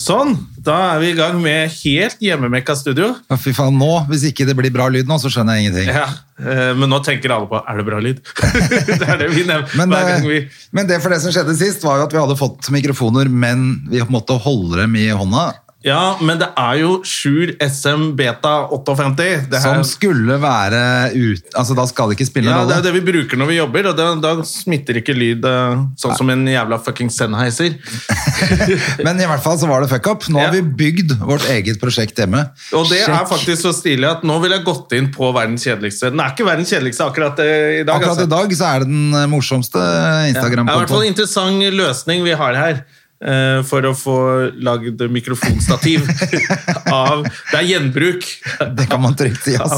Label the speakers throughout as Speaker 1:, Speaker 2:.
Speaker 1: Sånn, da er vi i gang med helt hjemmemekka studio.
Speaker 2: Ja, fy faen, nå, hvis ikke det blir bra lyd nå, så skjønner jeg ingenting.
Speaker 1: Ja, eh, Men nå tenker alle på er det bra lyd. det er det vi nevner
Speaker 2: Men,
Speaker 1: hver gang vi
Speaker 2: eh, men det for det som skjedde sist, var jo at vi hadde fått mikrofoner, men vi måtte holde dem i hånda,
Speaker 1: Ja, men det er jo Sjur SM Beta 58. Det her-
Speaker 2: som skulle være ut... Altså, da skal det ikke spille
Speaker 1: ja,
Speaker 2: noen
Speaker 1: det
Speaker 2: rolle.
Speaker 1: er det vi bruker når vi jobber, og da, da smitter ikke lyd eh, sånn som en jævla fucking Sennheiser.
Speaker 2: Men i hvert fall så var det fuck up. Nå har
Speaker 1: Ja.
Speaker 2: vi bygd vårt eget prosjekt hjemme.
Speaker 1: Og det er
Speaker 2: Sjekk.
Speaker 1: faktisk så stilig at nå vil jeg gått inn på verdens kjedeligste. Den er ikke verdens kjedeligste akkurat eh, i dag.
Speaker 2: Akkurat i dag så er det den eh, morsomste
Speaker 1: Det er i hvert fall en
Speaker 2: Instagram-kontoen.
Speaker 1: interessant løsning vi har her. eh, For å få lagd mikrofonstativ av Det er gjenbruk
Speaker 2: Det kan man altså. trygt si, ass.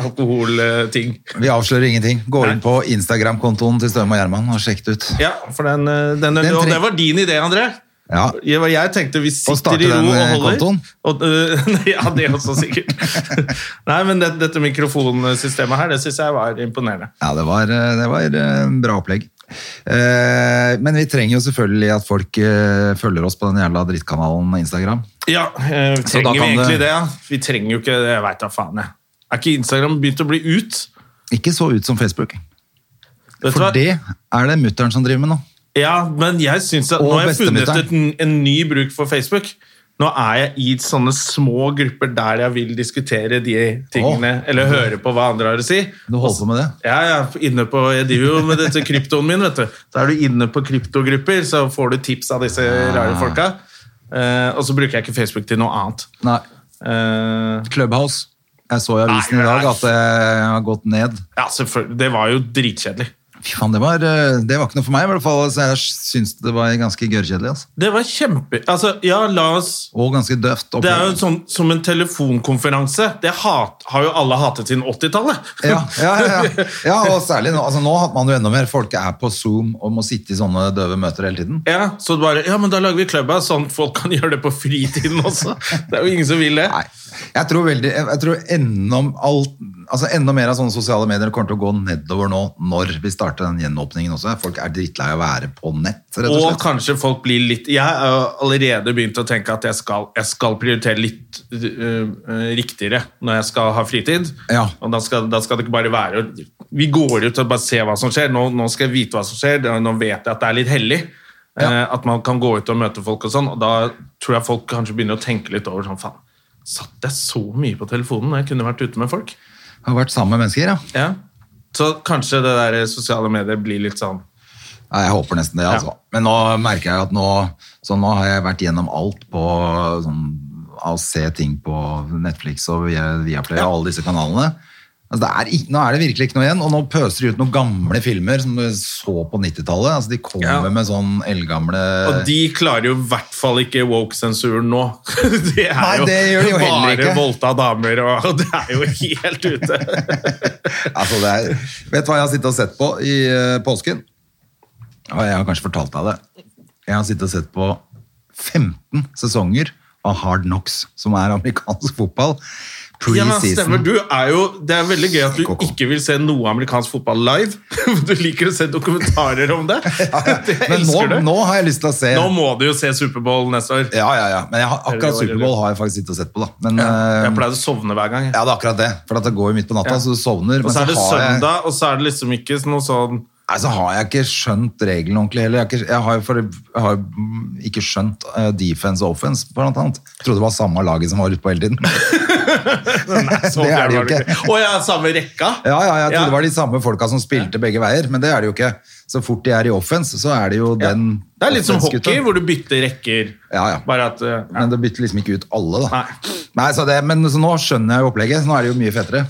Speaker 1: av alkoholting.
Speaker 2: Vi avslører ingenting. Gå inn på Instagram-kontoen til Støme og Gjerman og sjekk det ut.
Speaker 1: Ja, for den, eh, den,
Speaker 2: Den
Speaker 1: Og
Speaker 2: treng-
Speaker 1: det var din idé, André.
Speaker 2: Ja.
Speaker 1: Jeg, jeg tenkte vi
Speaker 2: starte
Speaker 1: sitter i ro
Speaker 2: den,
Speaker 1: og
Speaker 2: eh,
Speaker 1: holder.
Speaker 2: kontoen?
Speaker 1: Og, eh, nei, ja, det også sikkert. Nei, men det, dette mikrofonsystemet her, det syns jeg var imponerende.
Speaker 2: Ja, det var, eh, det var en bra opplegg. Eh, Men vi trenger jo selvfølgelig at folk eh, følger oss på den jævla drittkanalen Instagram.
Speaker 1: Ja, eh,
Speaker 2: Så
Speaker 1: trenger
Speaker 2: da
Speaker 1: vi
Speaker 2: kan
Speaker 1: egentlig
Speaker 2: det-
Speaker 1: det? ja? Vi trenger jo ikke det, jeg veit da faen, jeg. Er ikke Instagram begynt å bli ut?
Speaker 2: Ikke så ut som Facebook.
Speaker 1: Vet du
Speaker 2: For
Speaker 1: hva?
Speaker 2: det er det mutteren som driver med nå.
Speaker 1: Ja, men jeg synes at
Speaker 2: Og
Speaker 1: nå har jeg funnet
Speaker 2: bestemutteren.
Speaker 1: et, en ny bruk for Facebook. Nå er jeg i sånne små grupper der jeg vil diskutere de tingene, eller høre på hva andre har å si.
Speaker 2: Du holder på med det.
Speaker 1: Ja, ja, inne på, jeg driver jo med dette kryptoen min, vet du. Da er du inne på kryptogrupper, så får du tips av disse
Speaker 2: Ah.
Speaker 1: rare folka. Eh, og så bruker jeg ikke Facebook til noe annet.
Speaker 2: Nei,
Speaker 1: Eh,
Speaker 2: Clubhouse. Jeg så i avisen
Speaker 1: Nei,
Speaker 2: i dag
Speaker 1: nei.
Speaker 2: at det har gått ned.
Speaker 1: ja, selvfølgelig. Det var jo dritkjedelig.
Speaker 2: Fy faen, det var, eh, det var ikke noe for meg, i hvert fall. Så jeg syns det var ganske gørrkjedelig. Altså.
Speaker 1: Det var kjempe... Altså, ja, la oss...
Speaker 2: Og ganske døvt.
Speaker 1: Det er jo
Speaker 2: opplegg.
Speaker 1: en sånn, som en telefonkonferanse. Det hat, har jo alle hatet siden 80-tallet.
Speaker 2: Ja, ja, ja, ja. ja, og særlig nå. Altså, nå hadde man jo enda mer. Folk er på Zoom og må sitte i sånne døve møter hele tiden.
Speaker 1: Ja, så det bare, ja, men da lager vi Clubhouse, sånn at folk kan gjøre det på fritiden også. Det er jo ingen som vil det.
Speaker 2: Nei. Jeg tror, veldig, jeg jeg tror enda, alt, altså enda mer av sånne sosiale medier kommer til å gå nedover nå når vi starter den gjenåpningen også. Folk er drittlei av å være på nett, rett og
Speaker 1: Og
Speaker 2: slett.
Speaker 1: kanskje folk blir litt Jeg har jo allerede begynt å tenke at jeg skal, jeg skal prioritere litt øh, øh, riktigere når jeg skal ha fritid.
Speaker 2: Ja.
Speaker 1: Og da skal, da skal det ikke bare være å- Vi går ut og bare ser hva som skjer. Nå, nå skal jeg vite hva som skjer. Da- Nå vet jeg at det er litt hellig.
Speaker 2: Ja.
Speaker 1: eh, At man kan gå ut og møte folk og sånn. Og da tror jeg folk kanskje begynner å tenke litt over sånn Faen, satt jeg så mye på telefonen når jeg kunne vært ute med folk?
Speaker 2: Har vært sammen med mennesker, ja.
Speaker 1: Ja. Så kanskje det der eh, sosiale medier blir litt sånn
Speaker 2: ja jeg håper nesten det, altså. Men nå merker jeg at nå, så nå har jeg vært gjennom alt på sånn, av å se ting på Netflix og via- Viaplay og alle disse kanalene. Altså, det er, ikke- nå er det virkelig ikke noe igjen, og nå pøser de ut noen gamle filmer som du så på 90-tallet. Altså, de kommer
Speaker 1: Ja.
Speaker 2: med sånn eldgamle...
Speaker 1: Og de klarer jo i hvert fall ikke woke-sensuren nå. Det er
Speaker 2: Nei,
Speaker 1: jo,
Speaker 2: det gjør de jo heller
Speaker 1: bare
Speaker 2: ikke.
Speaker 1: voldta damer, og og det er jo helt ute.
Speaker 2: Altså, det er, vet du hva jeg har sittet og sett på i eh, påsken? Ja, Jeg har kanskje fortalt deg det. Jeg har sittet og sett på 15 sesonger av Hard Knocks, som er amerikansk fotball.
Speaker 1: Ja, men
Speaker 2: Pre-season.
Speaker 1: stemmer. Du er jo, det er veldig gøy at du
Speaker 2: Koko.
Speaker 1: ikke vil se noe amerikansk fotball live. Du liker å se dokumentarer om det. Det
Speaker 2: Men nå,
Speaker 1: elsker du.
Speaker 2: nå har jeg lyst til å se
Speaker 1: Nå må du jo se Superbowl neste år.
Speaker 2: Ja, ja, ja. Men jeg har, akkurat Superbowl har jeg faktisk sittet og sett på, da. Men, eh,
Speaker 1: Jeg pleier å sovne hver gang. jeg.
Speaker 2: ja, det er akkurat det. For at det går jo midt på natta,
Speaker 1: Ja.
Speaker 2: så du sovner.
Speaker 1: Og
Speaker 2: men
Speaker 1: så er det
Speaker 2: har jeg-
Speaker 1: søndag, og så er det liksom ikke noe sånn
Speaker 2: Nei, så har jeg ikke skjønt reglene ordentlig heller. Jeg har ikke, jeg har, jo for, jeg har mm, ikke skjønt eh, defense og offense, blant annet. Jeg trodde det var samme laget som var ute på hele tiden.
Speaker 1: Nei, så
Speaker 2: Det er
Speaker 1: fjern
Speaker 2: det jo
Speaker 1: var det
Speaker 2: ikke.
Speaker 1: Å ja, samme rekka?
Speaker 2: Ja, ja, jeg trodde det var de samme folka som spilte begge veier, men det er det jo ikke. Så fort de er i offense, så er det jo den
Speaker 1: Det er litt som
Speaker 2: offense-gutta.
Speaker 1: hockey, hvor du bytter rekker.
Speaker 2: Ja, ja.
Speaker 1: Bare at eh,
Speaker 2: Men det bytter liksom ikke ut alle, da.
Speaker 1: Nei.
Speaker 2: Nei, så det, men så nå skjønner jeg jo opplegget. så Nå er det jo mye fetere.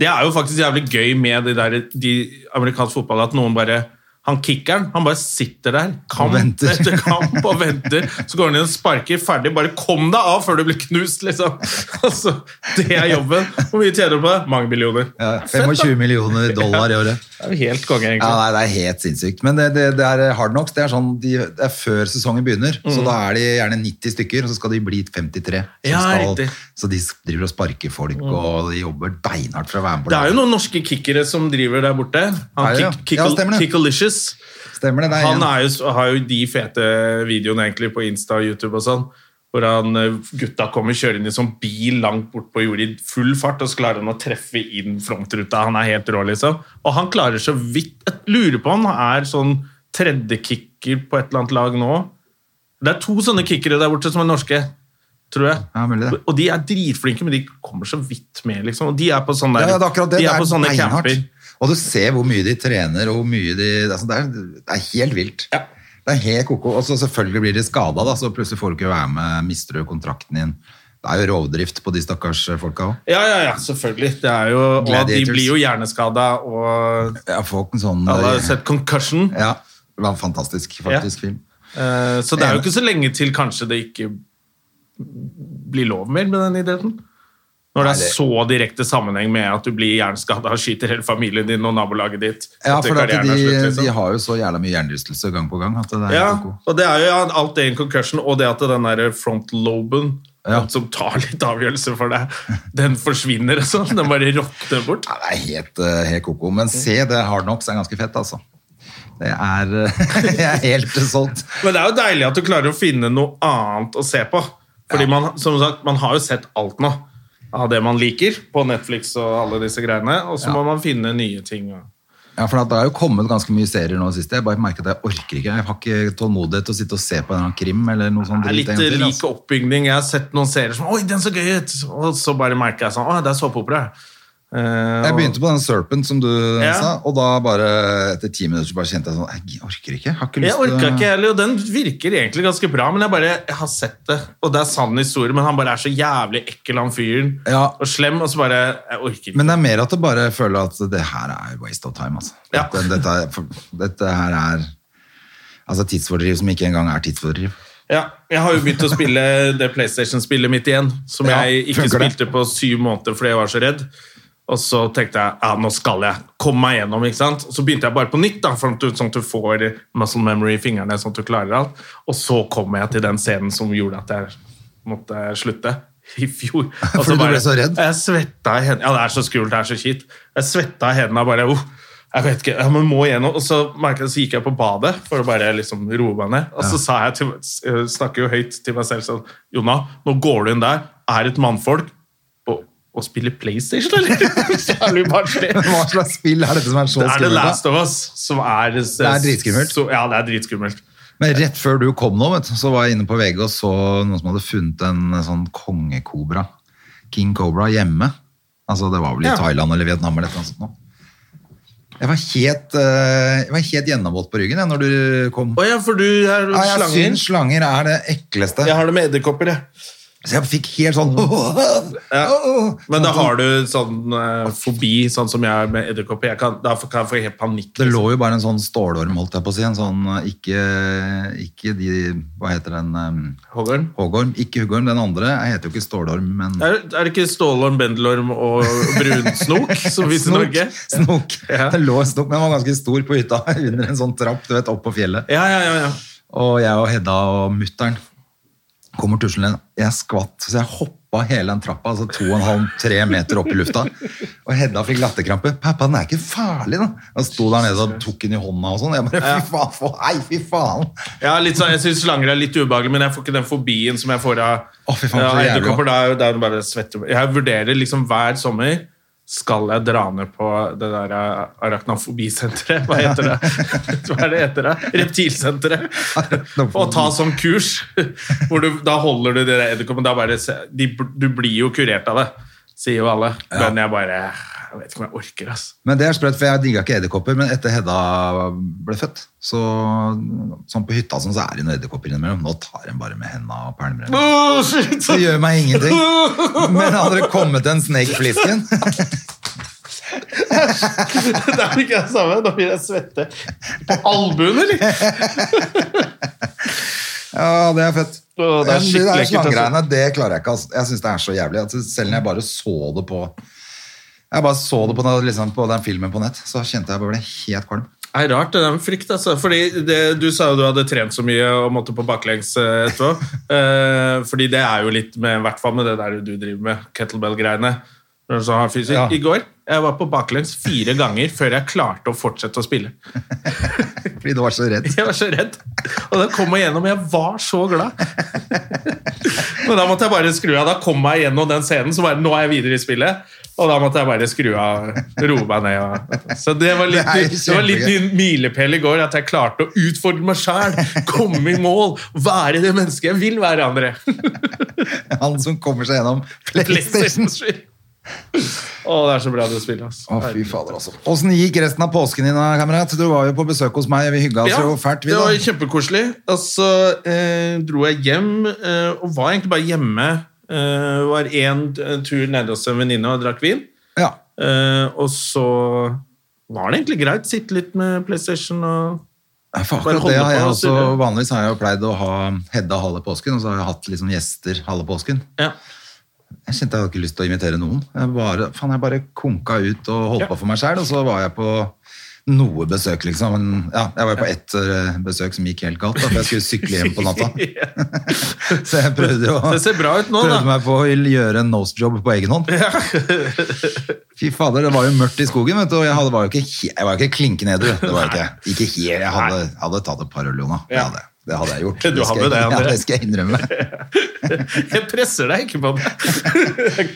Speaker 1: Det er jo faktisk jævlig gøy med det der, de amerikansk fotball, at noen bare Han kickeren han bare sitter der kamp
Speaker 2: Og venter.
Speaker 1: etter kamp og venter. Så går han inn og sparker ferdig. Bare kom deg av før du blir knust, liksom! Altså, det er jobben. Hvor mye tjener du på det? Mange millioner.
Speaker 2: Ja,
Speaker 1: Fett, da.
Speaker 2: 25 millioner dollar i året.
Speaker 1: Det er jo helt konge,
Speaker 2: Ja,
Speaker 1: egentlig.
Speaker 2: nei, Det er helt sinnssykt. Men det, det, det er hard knocks. Det er, sånn, de, det er før sesongen begynner. Så da er de gjerne 90 stykker, og så skal de bli 53. som
Speaker 1: Mm. Ja,
Speaker 2: skal,
Speaker 1: riktig. Mm.
Speaker 2: så de driver og sparker folk, og de jobber beinhardt for å være med på
Speaker 1: Det er jo noen norske kickere som driver der borte. Han
Speaker 2: Er det, ja?
Speaker 1: kick, kick,
Speaker 2: Ja, stemmer det.
Speaker 1: Kickalicious.
Speaker 2: Stemmer det? det
Speaker 1: Han
Speaker 2: en-
Speaker 1: er jo, har jo de fete videoene egentlig på Insta og YouTube og sånn, hvor han, eh, gutta kommer kjørende i sånn bil langt bort på jordet i full fart, og så klarer han å treffe inn frontruta. Han er helt rå, liksom. Og han klarer så vidt Jeg lurer på om han er sånn tredjekicker på et eller annet lag nå. Det er to sånne kickere der borte som er norske, tror jeg.
Speaker 2: Ja, mulig det.
Speaker 1: Og de er dritflinke, men de kommer så vidt med, liksom. Og de er på sånne, der,
Speaker 2: Ja, ja, det er akkurat det.
Speaker 1: De
Speaker 2: Det
Speaker 1: er på sånne
Speaker 2: beinhardt.
Speaker 1: camper.
Speaker 2: Og du ser hvor mye de trener, og hvor mye de altså, det, er, det er helt vilt. Det er helt koko. Og så selvfølgelig blir de skada, da, så plutselig får du ikke være med, mister du kontrakten din. Det er jo rovdrift på de stakkars folka òg.
Speaker 1: Ja, ja, ja, selvfølgelig. Det er jo, og de
Speaker 2: Gladiators.
Speaker 1: blir jo hjerneskada, og
Speaker 2: Ja, folk en sånn
Speaker 1: Alle har jo sett Concussion,
Speaker 2: Ja, det var en fantastisk faktisk
Speaker 1: Ja.
Speaker 2: film.
Speaker 1: eh, så det er jo ikke så lenge til kanskje det ikke blir lov mer med den idretten. Når det
Speaker 2: Nei,
Speaker 1: er
Speaker 2: det-
Speaker 1: så direkte sammenheng med at du blir hjerneskada og skyter hele familien din og nabolaget ditt.
Speaker 2: Ja,
Speaker 1: etter
Speaker 2: for at
Speaker 1: karrieren
Speaker 2: de,
Speaker 1: er slutt, liksom.
Speaker 2: de har jo så jævla mye hjernerystelse gang på gang at det er
Speaker 1: ja,
Speaker 2: koko.
Speaker 1: og det er jo ja, alt det i en concussion, og det at den der frontloben
Speaker 2: Ja.
Speaker 1: som tar litt avgjørelse for deg, den forsvinner og sånn. Den bare råtner bort.
Speaker 2: Ja, det er helt, eh, helt koko.
Speaker 1: Mm.
Speaker 2: Men se det Hard Knocks er ganske fett, altså. Det er eh, Jeg er helt solgt.
Speaker 1: Men det er jo deilig at du klarer å finne noe annet å se på. Fordi man, som sagt, man har jo sett alt nå av det man liker på Netflix og alle disse greiene. Og så må man finne nye ting. og-
Speaker 2: Ja, for det har jo kommet ganske mye serier nå sist. Jeg bare merker at jeg orker ikke. Jeg har ikke tålmodighet til å sitte og se på en eller annen krim eller noe sånt.
Speaker 1: Det er litt
Speaker 2: drit en gang til,
Speaker 1: lik
Speaker 2: altså.
Speaker 1: oppbygning. Jeg har sett noen serier som Oi, den så gøy ut! Og så bare merker jeg sånn Å, det er såpeopera. Eh,
Speaker 2: Jeg
Speaker 1: og-
Speaker 2: begynte på den Serpent som du
Speaker 1: Ja.
Speaker 2: sa, og da bare etter ti minutter så bare kjente jeg sånn Jeg orker ikke. Jeg har ikke lyst
Speaker 1: Jeg orka ikke heller, og den virker egentlig ganske bra, men jeg bare jeg har sett det. Og det er sann historie, men han bare er så jævlig ekkel, han fyren.
Speaker 2: Ja.
Speaker 1: Og slem, og så bare Jeg orker ikke.
Speaker 2: Men det er mer at du bare føler at det her er waste of time, altså.
Speaker 1: Ja.
Speaker 2: Dette, dette, er- for, dette her er altså tidsfordriv som ikke engang er tidsfordriv.
Speaker 1: Ja, jeg har jo begynt å spille det PlayStation-spillet mitt igjen, som
Speaker 2: Ja,
Speaker 1: jeg ikke
Speaker 2: funker det?
Speaker 1: spilte på syv måneder fordi jeg var så redd. Og så tenkte jeg ja, nå skal jeg komme meg gjennom. ikke sant? Og så begynte jeg bare på nytt, da, for at du, sånn at du får muscle memory i fingrene. sånn at du klarer alt. Og så kom jeg til den scenen som gjorde at jeg måtte slutte i fjor. Og
Speaker 2: Fordi du ble så redd?
Speaker 1: Jeg svetta i hendene. Ja, det er så skummelt, det er så kjipt. Jeg svetta i hendene og bare oh, jeg vet ikke, jeg må igjennom. Og så merket jeg, så gikk jeg på badet for å bare liksom roe meg ned. Og så sa jeg til, jeg snakker jo høyt til meg selv sånn Jonna, nå går du inn der, er et mannfolk, og, og spiller PlayStation, eller? så jævlig barnslig.
Speaker 2: Hva slags spill er dette som er så
Speaker 1: Det er The
Speaker 2: skummelt? da?
Speaker 1: Last of Us som er Det
Speaker 2: er dritskummelt.
Speaker 1: Så, ja, det er dritskummelt.
Speaker 2: Men rett før du kom nå, vet du, så var jeg inne på VG og så noen som hadde funnet en sånn kongekobra, King Cobra, hjemme. Altså, det var vel i
Speaker 1: Ja.
Speaker 2: Thailand eller Vietnam eller et eller annet sånt nå. Jeg var helt, eh, jeg var helt gjennomvåt på ryggen jeg, når du kom.
Speaker 1: Å ja, for du er
Speaker 2: Ja, jeg
Speaker 1: slangen.
Speaker 2: syns slanger er det ekleste.
Speaker 1: Jeg har det med edderkopper, jeg.
Speaker 2: Så jeg fikk helt sånn
Speaker 1: Ja. Men da
Speaker 2: Sånn-
Speaker 1: har du sånn eh, fobi, sånn som jeg er med edderkopper. Jeg kan, da får- kan jeg få helt panikk.
Speaker 2: Det
Speaker 1: liksom.
Speaker 2: lå jo bare en sånn stålorm, holdt jeg på å si. En sånn eh, ikke, ikke de Hva heter den? eh,
Speaker 1: Hoggorm.
Speaker 2: Hoggorm? Ikke huggorm. Den andre jeg heter jo ikke stålorm, men
Speaker 1: Er, er det ikke stålorm, bendelorm og brunsnok som finnes i
Speaker 2: Snok.
Speaker 1: Norge?
Speaker 2: Snok.
Speaker 1: Ja.
Speaker 2: Det lå en snok, men den var ganske stor på hytta under en sånn trapp du vet, opp på fjellet.
Speaker 1: Ja, ja, ja. ja.
Speaker 2: Og jeg og Hedda og mutteren kommer tuslende. Jeg skvatt, så jeg hoppa hele den trappa, altså to og en halv, tre meter opp i lufta. Og Hedda fikk latterkrampe. 'Pappa, den er ikke farlig', da. Han sto der nede og tok den i hånda og sånn. Jeg bare, fy faen, for, nei, fy faen.
Speaker 1: ja litt sånn, jeg syns slanger er litt ubehagelig, men jeg får ikke den fobien som jeg får av
Speaker 2: Å, fy faen,
Speaker 1: ja,
Speaker 2: så jævlig.
Speaker 1: edderkopper. Da er jo- da er det bare svette. Jeg vurderer liksom hver sommer skal jeg dra ned på det der eh, arachnofobisenteret? Hva heter det? Hva er det heter det? Reptilsenteret. Og ta sånn kurs. Hvor du, da holder du de der edderkoppene. da bare se- de- Du blir jo kurert av det, sier jo alle. Men jeg bare Jeg vet ikke om jeg orker, ass.
Speaker 2: Men det er sprøtt, for jeg digga ikke edderkopper, men etter Hedda ble født, så sånn på hytta sånn, så er det noen edderkopper innimellom. Nå tar en bare med henda og pælmer en.
Speaker 1: Åh, shit!
Speaker 2: Det gjør meg ingenting. Men hadde det kommet en snake flisken
Speaker 1: Det er jo ikke det samme. Da blir jeg svette på albuen, eller?
Speaker 2: Ja, det er fett.
Speaker 1: Å, det er
Speaker 2: Men de
Speaker 1: skikkelig
Speaker 2: der
Speaker 1: ekkelt, altså.
Speaker 2: slanggreiene, det klarer jeg ikke. Altså. Jeg syns det er så jævlig. At selv når jeg bare så det på Jeg bare så det på den, liksom, på den filmen på nett, så kjente jeg bare ble helt kvalm.
Speaker 1: Det er rart, det der med frykt. Altså. Fordi det, Du sa jo du hadde trent så mye og måtte på baklengs eh, etterpå. Eh, fordi det er jo litt med, i hvert fall med det der du driver med, kettlebell-greiene. når du så har fysikk.
Speaker 2: Ja.
Speaker 1: I går jeg var på baklengs fire ganger før jeg klarte å fortsette å spille.
Speaker 2: Fordi du var så redd.
Speaker 1: Jeg var så redd. Og den kom meg gjennom. Jeg var så glad. Men da måtte jeg bare skru av. Da kom jeg gjennom den scenen, så bare nå er jeg videre i spillet. Og da måtte jeg bare skru av, roe meg ned. Og, så det var litt,
Speaker 2: Det er
Speaker 1: det var litt
Speaker 2: kjempegøy.
Speaker 1: min milepæl i går, at jeg klarte å utfordre meg sjæl, komme i mål, være det mennesket jeg vil være, André.
Speaker 2: Han som kommer seg gjennom PlayStation.
Speaker 1: PlayStation. Å, det er så bra det spillet, ass.
Speaker 2: Å, fy fader, altså. Åssen gikk resten av påsken din, da, kamerat? Du var jo på besøk hos meg, vi hygga oss jo Altså, fælt, vi,
Speaker 1: det var
Speaker 2: da.
Speaker 1: kjempekoselig. Og så eh, dro jeg hjem, eh, og var egentlig bare hjemme. Eh, var én tur nede hos en venninne og drakk vin.
Speaker 2: Ja.
Speaker 1: Eh, og så var det egentlig greit. Sitte litt med PlayStation og
Speaker 2: Ja, For
Speaker 1: Bare
Speaker 2: akkurat
Speaker 1: holde
Speaker 2: det har
Speaker 1: på
Speaker 2: jeg
Speaker 1: og
Speaker 2: også,
Speaker 1: surre.
Speaker 2: Vanligvis har jeg jo pleid å ha Hedda halve påsken, og så har jeg hatt liksom gjester halve påsken.
Speaker 1: Ja.
Speaker 2: Jeg kjente jeg hadde ikke lyst til å invitere noen. Jeg bare, faen, jeg bare konka ut og holdt på for meg sjøl, og så var jeg på noe besøk, liksom. Men, ja, jeg var jo på ett eh, besøk som gikk helt galt, da, for jeg skulle sykle hjem på natta. Så jeg prøvde jo
Speaker 1: Det ser bra ut nå,
Speaker 2: prøvde
Speaker 1: da.
Speaker 2: meg på å gjøre en nose job på egen hånd. Fy fader, det var jo mørkt i skogen, vet du, og jeg hadde, var jo ikke, he- jeg var jo ikke klinkende edru. Det var jo ikke, ikke helt, jeg hadde, hadde tatt et par øl, Jona. Det
Speaker 1: Ja.
Speaker 2: hadde, det hadde jeg gjort.
Speaker 1: Du
Speaker 2: Det
Speaker 1: hadde
Speaker 2: skal jeg-
Speaker 1: det, André.
Speaker 2: Ja, det skal jeg innrømme.
Speaker 1: Jeg presser deg ikke på det.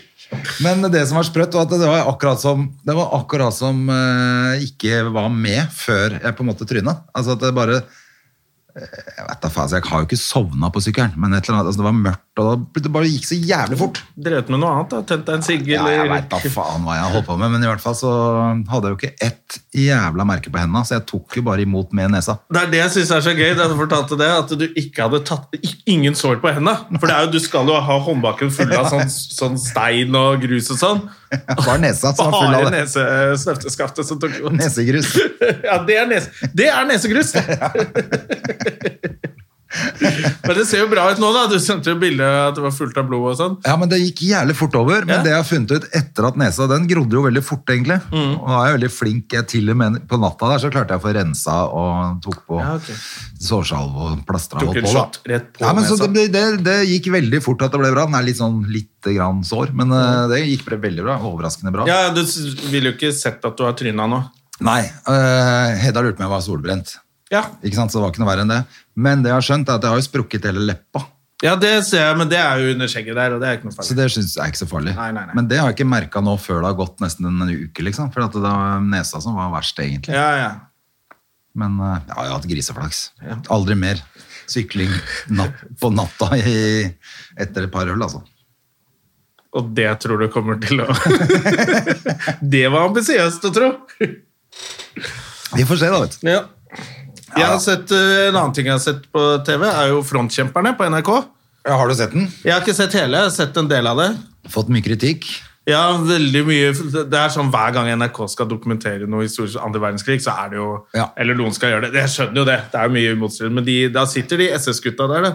Speaker 2: Men det som var sprøtt, var at det var akkurat som, det var akkurat som eh, ikke var med før jeg på en måte tryna. Altså at det bare eh, Jeg vet da faen, så jeg har jo ikke sovna på sykkelen, men et eller annet, altså det var mørkt, og da- det bare gikk så jævlig fort.
Speaker 1: Drevet med noe annet, da. Tent deg en sigg,
Speaker 2: Ja, jeg
Speaker 1: eller
Speaker 2: veit da faen hva jeg holdt på med, men i hvert fall så hadde jeg jo ikke ett jævla merke på henda, så jeg tok jo bare imot med nesa.
Speaker 1: Det er det jeg syns er så gøy, da du fortalte det, at du ikke hadde tatt ik- ingen sår på henda. For det er jo, du skal jo ha håndbaken full av sånn, sånn stein og grus og sånn.
Speaker 2: Det var nesa som var full
Speaker 1: Bare eh,
Speaker 2: av det.
Speaker 1: nesesnøfteskaftet som tok imot.
Speaker 2: Nesegrus.
Speaker 1: Ja, det er, nes det er nesegrus! det. Men det ser jo bra ut nå, da. Du sendte jo bilde av at det var fullt av blod og sånn.
Speaker 2: Ja, men det gikk jævlig fort over. Men
Speaker 1: Ja.
Speaker 2: det jeg har funnet ut etter at nesa, den grodde jo veldig fort, egentlig.
Speaker 1: Mm.
Speaker 2: Og da er jeg veldig flink. Jeg til og med på natta der så klarte jeg å få rensa og tok på
Speaker 1: Ja, ok.
Speaker 2: sårsalve og plastra
Speaker 1: Tok
Speaker 2: og
Speaker 1: en
Speaker 2: på.
Speaker 1: shot
Speaker 2: da.
Speaker 1: rett på
Speaker 2: Ja, men så
Speaker 1: nesa.
Speaker 2: det, det, det gikk veldig fort at det ble bra. Den er litt sånn lite grann sår, men eh, det gikk bre- veldig bra. Overraskende bra.
Speaker 1: Mm. Ja, Du s- ville jo ikke sett at du har tryna nå.
Speaker 2: Nei, eh, Hedda lurte på om jeg var solbrent.
Speaker 1: Ja.
Speaker 2: Ikke sant, så det var ikke noe verre enn det. Men det jeg har skjønt, er at jeg har jo sprukket hele leppa.
Speaker 1: ja, det ser jeg, men det er jo under skjegget der, og det er ikke noe
Speaker 2: Så
Speaker 1: farlig.
Speaker 2: det synes jeg er ikke så farlig.
Speaker 1: Nei, nei, nei.
Speaker 2: Men det har jeg ikke merka nå før det har gått nesten en uke, liksom. For at det var nesa som var verst, egentlig.
Speaker 1: Ja, ja.
Speaker 2: Men eh, ja, jeg har hatt griseflaks.
Speaker 1: Ja.
Speaker 2: Aldri mer sykling natt, på natta i, etter et par øl, altså.
Speaker 1: Og det tror du kommer til å Det var ambisiøst å tro!
Speaker 2: Vi får se, da, vet du.
Speaker 1: Ja. Jeg har sett, eh, En annen ting jeg har sett på TV, er jo Frontkjemperne på NRK.
Speaker 2: Ja, har du sett den?
Speaker 1: Jeg har ikke sett hele, jeg har sett en del av det.
Speaker 2: Fått mye kritikk.
Speaker 1: Ja, veldig mye. Det er sånn Hver gang NRK skal dokumentere noe historisk andre verdenskrig, så er det jo
Speaker 2: Ja.
Speaker 1: Eller noen skal gjøre det. Jeg skjønner jo det. Det er jo mye motstrid. Men de, da sitter de SS-gutta der da,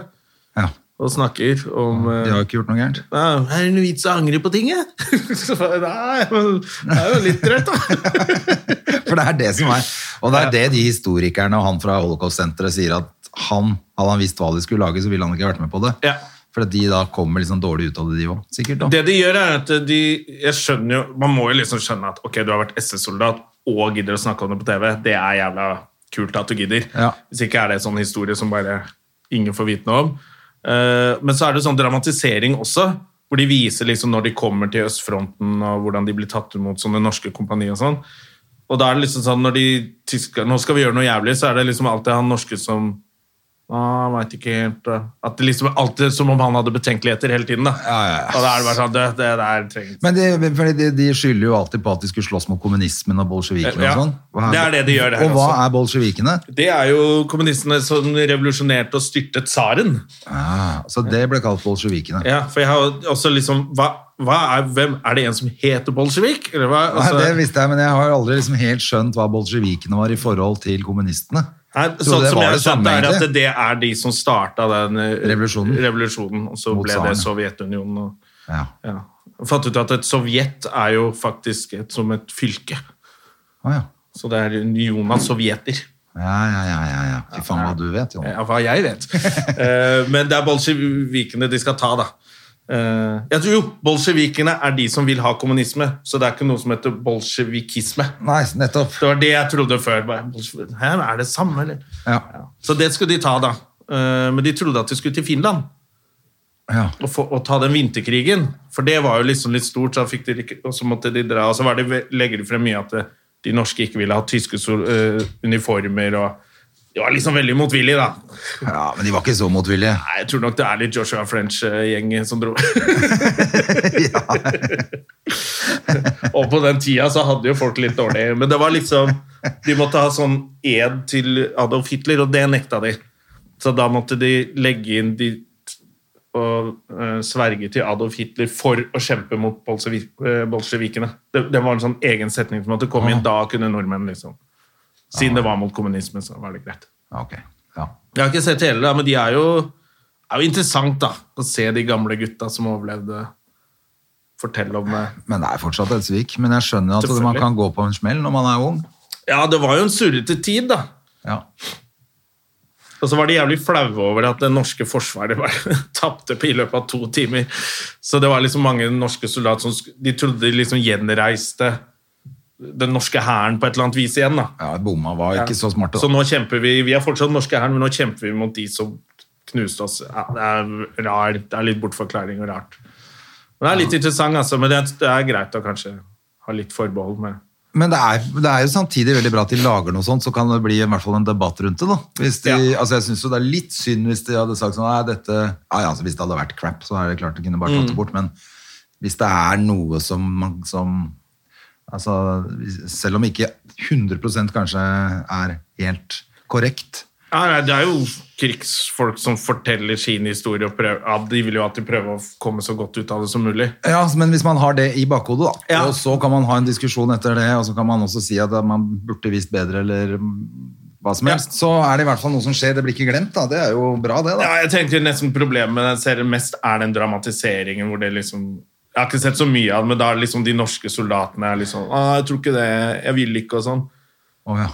Speaker 2: Ja,
Speaker 1: og snakker om
Speaker 2: De
Speaker 1: eh,
Speaker 2: har jo ikke gjort noe gærent.
Speaker 1: «Ah, Er det noe vits å angre på ting, jeg?» Så bare, Nei, men det er jo litt drøyt, da.
Speaker 2: For det er det som er Og det er det de historikerne og han fra Holocaust-senteret sier at han, hadde han visst hva de skulle lage, så ville han ikke vært med på det.
Speaker 1: Ja.
Speaker 2: For at de da kommer liksom dårlig ut av det, de òg. Sikkert. da.
Speaker 1: Det de gjør, er at de Jeg skjønner jo Man må jo liksom skjønne at ok, du har vært SS-soldat og gidder å snakke om det på TV. Det er jævla kult at du gidder.
Speaker 2: Ja.
Speaker 1: Hvis ikke er det en sånn historie som bare ingen får vite noe om. Eh, men så er det sånn dramatisering også, hvor de viser liksom når de kommer til østfronten og hvordan de blir tatt imot som det norske kompaniet og sånn. Og da er det liksom sånn, når de tysker, nå skal vi gjøre noe jævlig, så er det liksom alltid han norske som Han vet ikke helt eh, At det liksom alltid som om han hadde betenkeligheter hele tiden. da.
Speaker 2: Ja, ja, ja.
Speaker 1: Og da er det bare sånn, det, det der trenger
Speaker 2: Men de, fordi de, de skylder jo alltid på at de skulle slåss mot kommunismen og bolsjevikene
Speaker 1: Ja,
Speaker 2: og sånn. Hva
Speaker 1: det er det de gjør her
Speaker 2: Og hva
Speaker 1: også.
Speaker 2: er bolsjevikene?
Speaker 1: Det er jo kommunistene som revolusjonerte og styrtet tsaren.
Speaker 2: Ah, så det ble kalt bolsjevikene.
Speaker 1: Ja, for jeg har jo også liksom hva, hva er, hvem, er det en som heter bolsjevik? Eller hva?
Speaker 2: Nei,
Speaker 1: Altså,
Speaker 2: det visste jeg, men jeg har aldri liksom helt skjønt hva bolsjevikene var i forhold til kommunistene.
Speaker 1: Nei,
Speaker 2: Trodde
Speaker 1: sånn
Speaker 2: det
Speaker 1: som
Speaker 2: var
Speaker 1: jeg
Speaker 2: det samme,
Speaker 1: skjønte, er at
Speaker 2: egentlig.
Speaker 1: det er de som starta den eh,
Speaker 2: Revolusjonen.
Speaker 1: revolusjonen, og så
Speaker 2: Mot
Speaker 1: ble
Speaker 2: tsarene.
Speaker 1: det Sovjetunionen. Og,
Speaker 2: Ja.
Speaker 1: ja. Jeg Fant ut at et sovjet er jo faktisk et, som et fylke.
Speaker 2: Å, ja.
Speaker 1: Så det er unionen av sovjeter.
Speaker 2: Ja, ja, ja, ja, ja. Fy faen hva du vet, Jon.
Speaker 1: Ja, hva jeg vet. Eh, Men det er bolsjevikene de skal ta, da. Eh, Jeg tror jo, bolsjevikene er de som vil ha kommunisme, så det er ikke noe som heter bolsjevikisme.
Speaker 2: Nei, nettopp.
Speaker 1: Det var det jeg trodde før. Bare, bolsjevik- Hæ, er det samme, eller?
Speaker 2: Ja.
Speaker 1: Ja. Så det skulle de ta, da. Eh, Men de trodde at de skulle til Finland
Speaker 2: Ja.
Speaker 1: og, få, og ta den vinterkrigen. For det var jo liksom litt stort, så, da fikk de, ikke- og så måtte de dra. Og så var det, legger de frem mye at eh, de norske ikke ville ha tyske sol- eh, uniformer og Det var liksom veldig motvillig, da.
Speaker 2: ja, men de var ikke så motvillige.
Speaker 1: Nei, jeg tror nok det er litt Joshua French-gjeng som dro. og på den tida så hadde jo folk litt dårlig Men det var liksom De måtte ha sånn ed til Adolf Hitler, og det nekta de. Så da måtte de legge inn de og eh, sverge til Adolf Hitler for å kjempe mot bolsjevi- eh, bolsjevikene. Det, det var en sånn egen setning som måtte komme inn. Da kunne nordmenn, liksom. Siden det var mot kommunismen, så var det greit.
Speaker 2: Ja, ok. Ja.
Speaker 1: Jeg har ikke sett hele, da, men de er jo, er jo interessant da, å se de gamle gutta som overlevde, fortelle om eh, det.
Speaker 2: Men det er fortsatt et svik. Men jeg skjønner at man
Speaker 1: Selvfølgelig.
Speaker 2: kan gå på en smell når man er ung.
Speaker 1: Ja, det var jo en surrete tid da.
Speaker 2: Ja.
Speaker 1: Og så var de jævlig flaue over at det norske forsvaret bare tapte på i løpet av to timer. Så det var liksom mange norske soldater som sk- de trodde de liksom gjenreiste den norske hæren på et eller annet vis igjen da.
Speaker 2: ja, bomma var ikke så smarte.
Speaker 1: Så
Speaker 2: Da.
Speaker 1: nå kjemper vi, vi er fortsatt norske hæren, men nå kjemper vi mot de som knuste oss. Ja, det er rar, det er litt bortforklaring og rart. Men det er litt interessant, altså, men det, det er greit å kanskje ha litt forbehold med.
Speaker 2: Men det er, det er jo samtidig veldig bra at de lager noe sånt, så kan det bli i hvert fall en debatt rundt det. da. Hvis de,
Speaker 1: Ja.
Speaker 2: altså Jeg syns det er litt synd hvis de hadde sagt sånn nei, dette, ja, ja, altså Hvis det hadde vært crap, så er det klart de kunne bare tatt det bort. Men hvis det er noe som, man- som altså, hvis- Selv om ikke 100 kanskje er helt korrekt
Speaker 1: Ja, nei, det er jo krigsfolk som forteller sin historie og prøver, ja, de vil jo alltid prøve å komme så godt ut av det som mulig.
Speaker 2: Ja, men hvis man har det i bakhodet, da,
Speaker 1: Ja.
Speaker 2: og så kan man ha en diskusjon etter det, og så kan man også si at man burde visst bedre, eller hva som
Speaker 1: Ja.
Speaker 2: helst, så er det i hvert fall noe som skjer, det blir ikke glemt, da. Det er jo bra, det, da.
Speaker 1: Ja, jeg tenker nesten problemet med den serien mest er den dramatiseringen hvor det liksom Jeg har ikke sett så mye av det, men da er det liksom de norske soldatene er liksom ah, 'Jeg tror ikke det. Jeg vil ikke.' og sånn.
Speaker 2: Å, ja.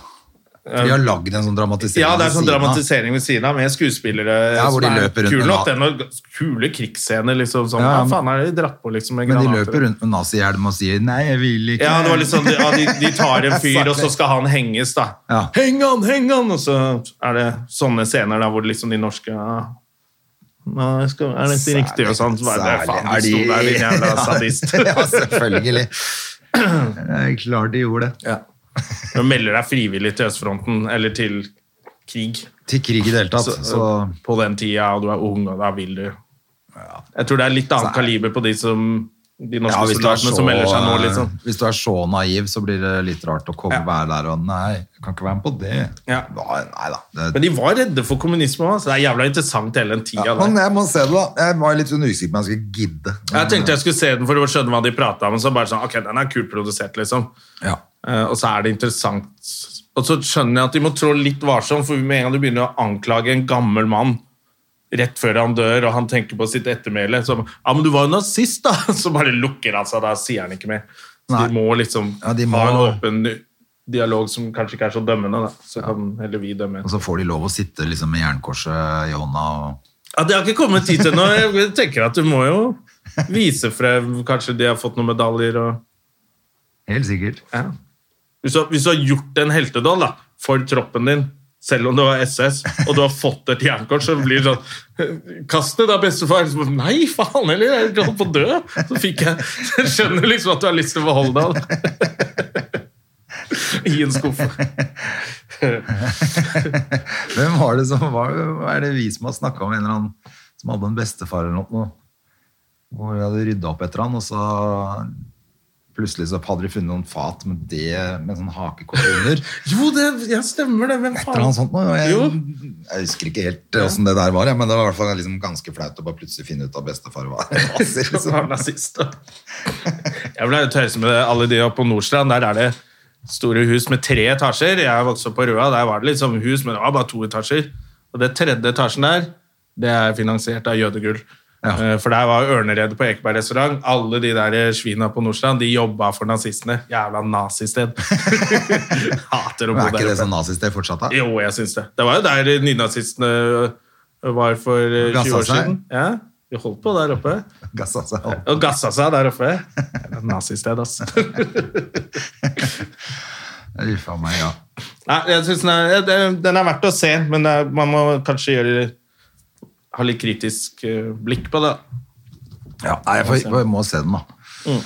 Speaker 2: Vi har lagd en sånn dramatisering.
Speaker 1: Ja, det er
Speaker 2: ved
Speaker 1: sånn
Speaker 2: siden av.
Speaker 1: dramatisering ved siden av, med skuespillere
Speaker 2: Ja, hvor de
Speaker 1: som er
Speaker 2: løper rundt
Speaker 1: kule
Speaker 2: med
Speaker 1: nok,
Speaker 2: na-
Speaker 1: den, og kule krigsscener, liksom. Sånn,
Speaker 2: Ja,
Speaker 1: ja,
Speaker 2: men-
Speaker 1: faen, er det de dratt på, liksom, med
Speaker 2: Men de
Speaker 1: granater?
Speaker 2: løper rundt med nazihjelm og sier 'nei, jeg vil ikke'.
Speaker 1: Ja, det var litt sånn, ja, de, de tar en fyr, og så skal han henges, da.
Speaker 2: Ja.
Speaker 1: Heng han, heng han! Og så er det sånne scener da, hvor liksom de norske ja, Nei, skal, er dette
Speaker 2: Særlig,
Speaker 1: riktig? Og sånn. Så bare,
Speaker 2: særlig
Speaker 1: faen,
Speaker 2: er
Speaker 1: du sto
Speaker 2: de-
Speaker 1: der, din jævla sadist.
Speaker 2: ja, selvfølgelig. Det er klart de gjorde det.
Speaker 1: Ja. Du melder deg frivillig til østfronten, eller til krig.
Speaker 2: Til krig i det hele tatt.
Speaker 1: Så,
Speaker 2: Så,
Speaker 1: På den tida, og du er ung, og da vil du Jeg tror det er litt annet kaliber på de som de norske
Speaker 2: ja, hvis, du er
Speaker 1: soldatene
Speaker 2: så,
Speaker 1: som melder seg nå, liksom.
Speaker 2: hvis du er så naiv, så blir det litt rart å komme være der og Nei, jeg kan ikke være med på det.
Speaker 1: Ja.
Speaker 2: Nei, nei da. Det,
Speaker 1: Men de var redde for kommunisme òg, så det er jævla interessant hele den tida.
Speaker 2: ja,
Speaker 1: der.
Speaker 2: men jeg må se det, da. Jeg var litt sånn usikker på om jeg skulle gidde.
Speaker 1: jeg tenkte jeg skulle se den for å skjønne hva de prata om, og så bare sånn Ok, den er kult produsert, liksom.
Speaker 2: Ja.
Speaker 1: Eh, og så er det interessant. Og så skjønner jeg at de må trå litt varsomt, for med en gang du begynner å anklage en gammel mann rett før han dør, og han tenker på sitt ettermæle som Ja, men du var jo nazist, da! Så bare lukker han seg, da sier han ikke mer. Så
Speaker 2: Nei.
Speaker 1: de må liksom
Speaker 2: Ja, de
Speaker 1: ha en
Speaker 2: må-
Speaker 1: åpen dialog som kanskje ikke er så dømmende, da. Så kan heller vi dømme.
Speaker 2: Og så får de lov å sitte liksom, med jernkorset i hånda og
Speaker 1: Ja, det har ikke kommet hit ennå. Jeg tenker at du må jo vise frem Kanskje de har fått noen medaljer og
Speaker 2: Helt sikkert.
Speaker 1: ja. hvis, du, har- hvis du har gjort en heltedoll da, for troppen din, selv om det var SS, og du har fått et jernkort, så blir det sånn Kast det da, bestefar! Så, bare, Nei, faen heller! Jeg er holdt på å dø! Så fikk jeg så jeg skjønner liksom at du har lyst til å beholde det. I en skuffe.
Speaker 2: Hvem var det som var hva Er det vi som har snakka om en eller annen som hadde en bestefar eller noe? Hvor de hadde rydda opp etter han, og så plutselig så hadde de funnet noen fat med det med en sånn hakekort under.
Speaker 1: Jo, det ja, stemmer det. Hvem
Speaker 2: Et eller annet sånt noe. og
Speaker 1: Jo.
Speaker 2: Jeg, jeg husker ikke helt eh, åssen det der var, jeg, men det var i hvert fall liksom ganske flaut å bare plutselig finne ut at bestefar var
Speaker 1: Så
Speaker 2: nazi.
Speaker 1: var
Speaker 2: Liksom.
Speaker 1: han nazist, da. Jeg ble tøyset med alle de oppe på Nordstrand. Der er det store hus med tre etasjer. Jeg vokste opp på Røa, der var det liksom hus, men det var bare to etasjer. Og det tredje etasjen der, det er finansiert av jødegull.
Speaker 2: Ja.
Speaker 1: Eh, For der var Ørneredet på Ekeberg restaurant. Alle de der svina på Nordstrand, de jobba for nazistene. Jævla nazisted. Hater å bo
Speaker 2: Men er ikke
Speaker 1: der
Speaker 2: det
Speaker 1: oppe.
Speaker 2: sånn nazisted fortsatt, da?
Speaker 1: Jo, jeg syns det. Det var jo der nynazistene var for eh,
Speaker 2: Gasset
Speaker 1: 20 år
Speaker 2: seg.
Speaker 1: siden. Ja, de holdt på der oppe.
Speaker 2: Gassa seg opp.
Speaker 1: Og gassa seg der oppe. Jævla Nazisted, ass.
Speaker 2: Uff a meg, ja.
Speaker 1: Nei, jeg synes den, er, det- den er verdt å se, men det er, man må kanskje gjøre ha litt kritisk eh, blikk på det.
Speaker 2: Ja, nei, jeg, får, jeg må se den, da.
Speaker 1: Mm.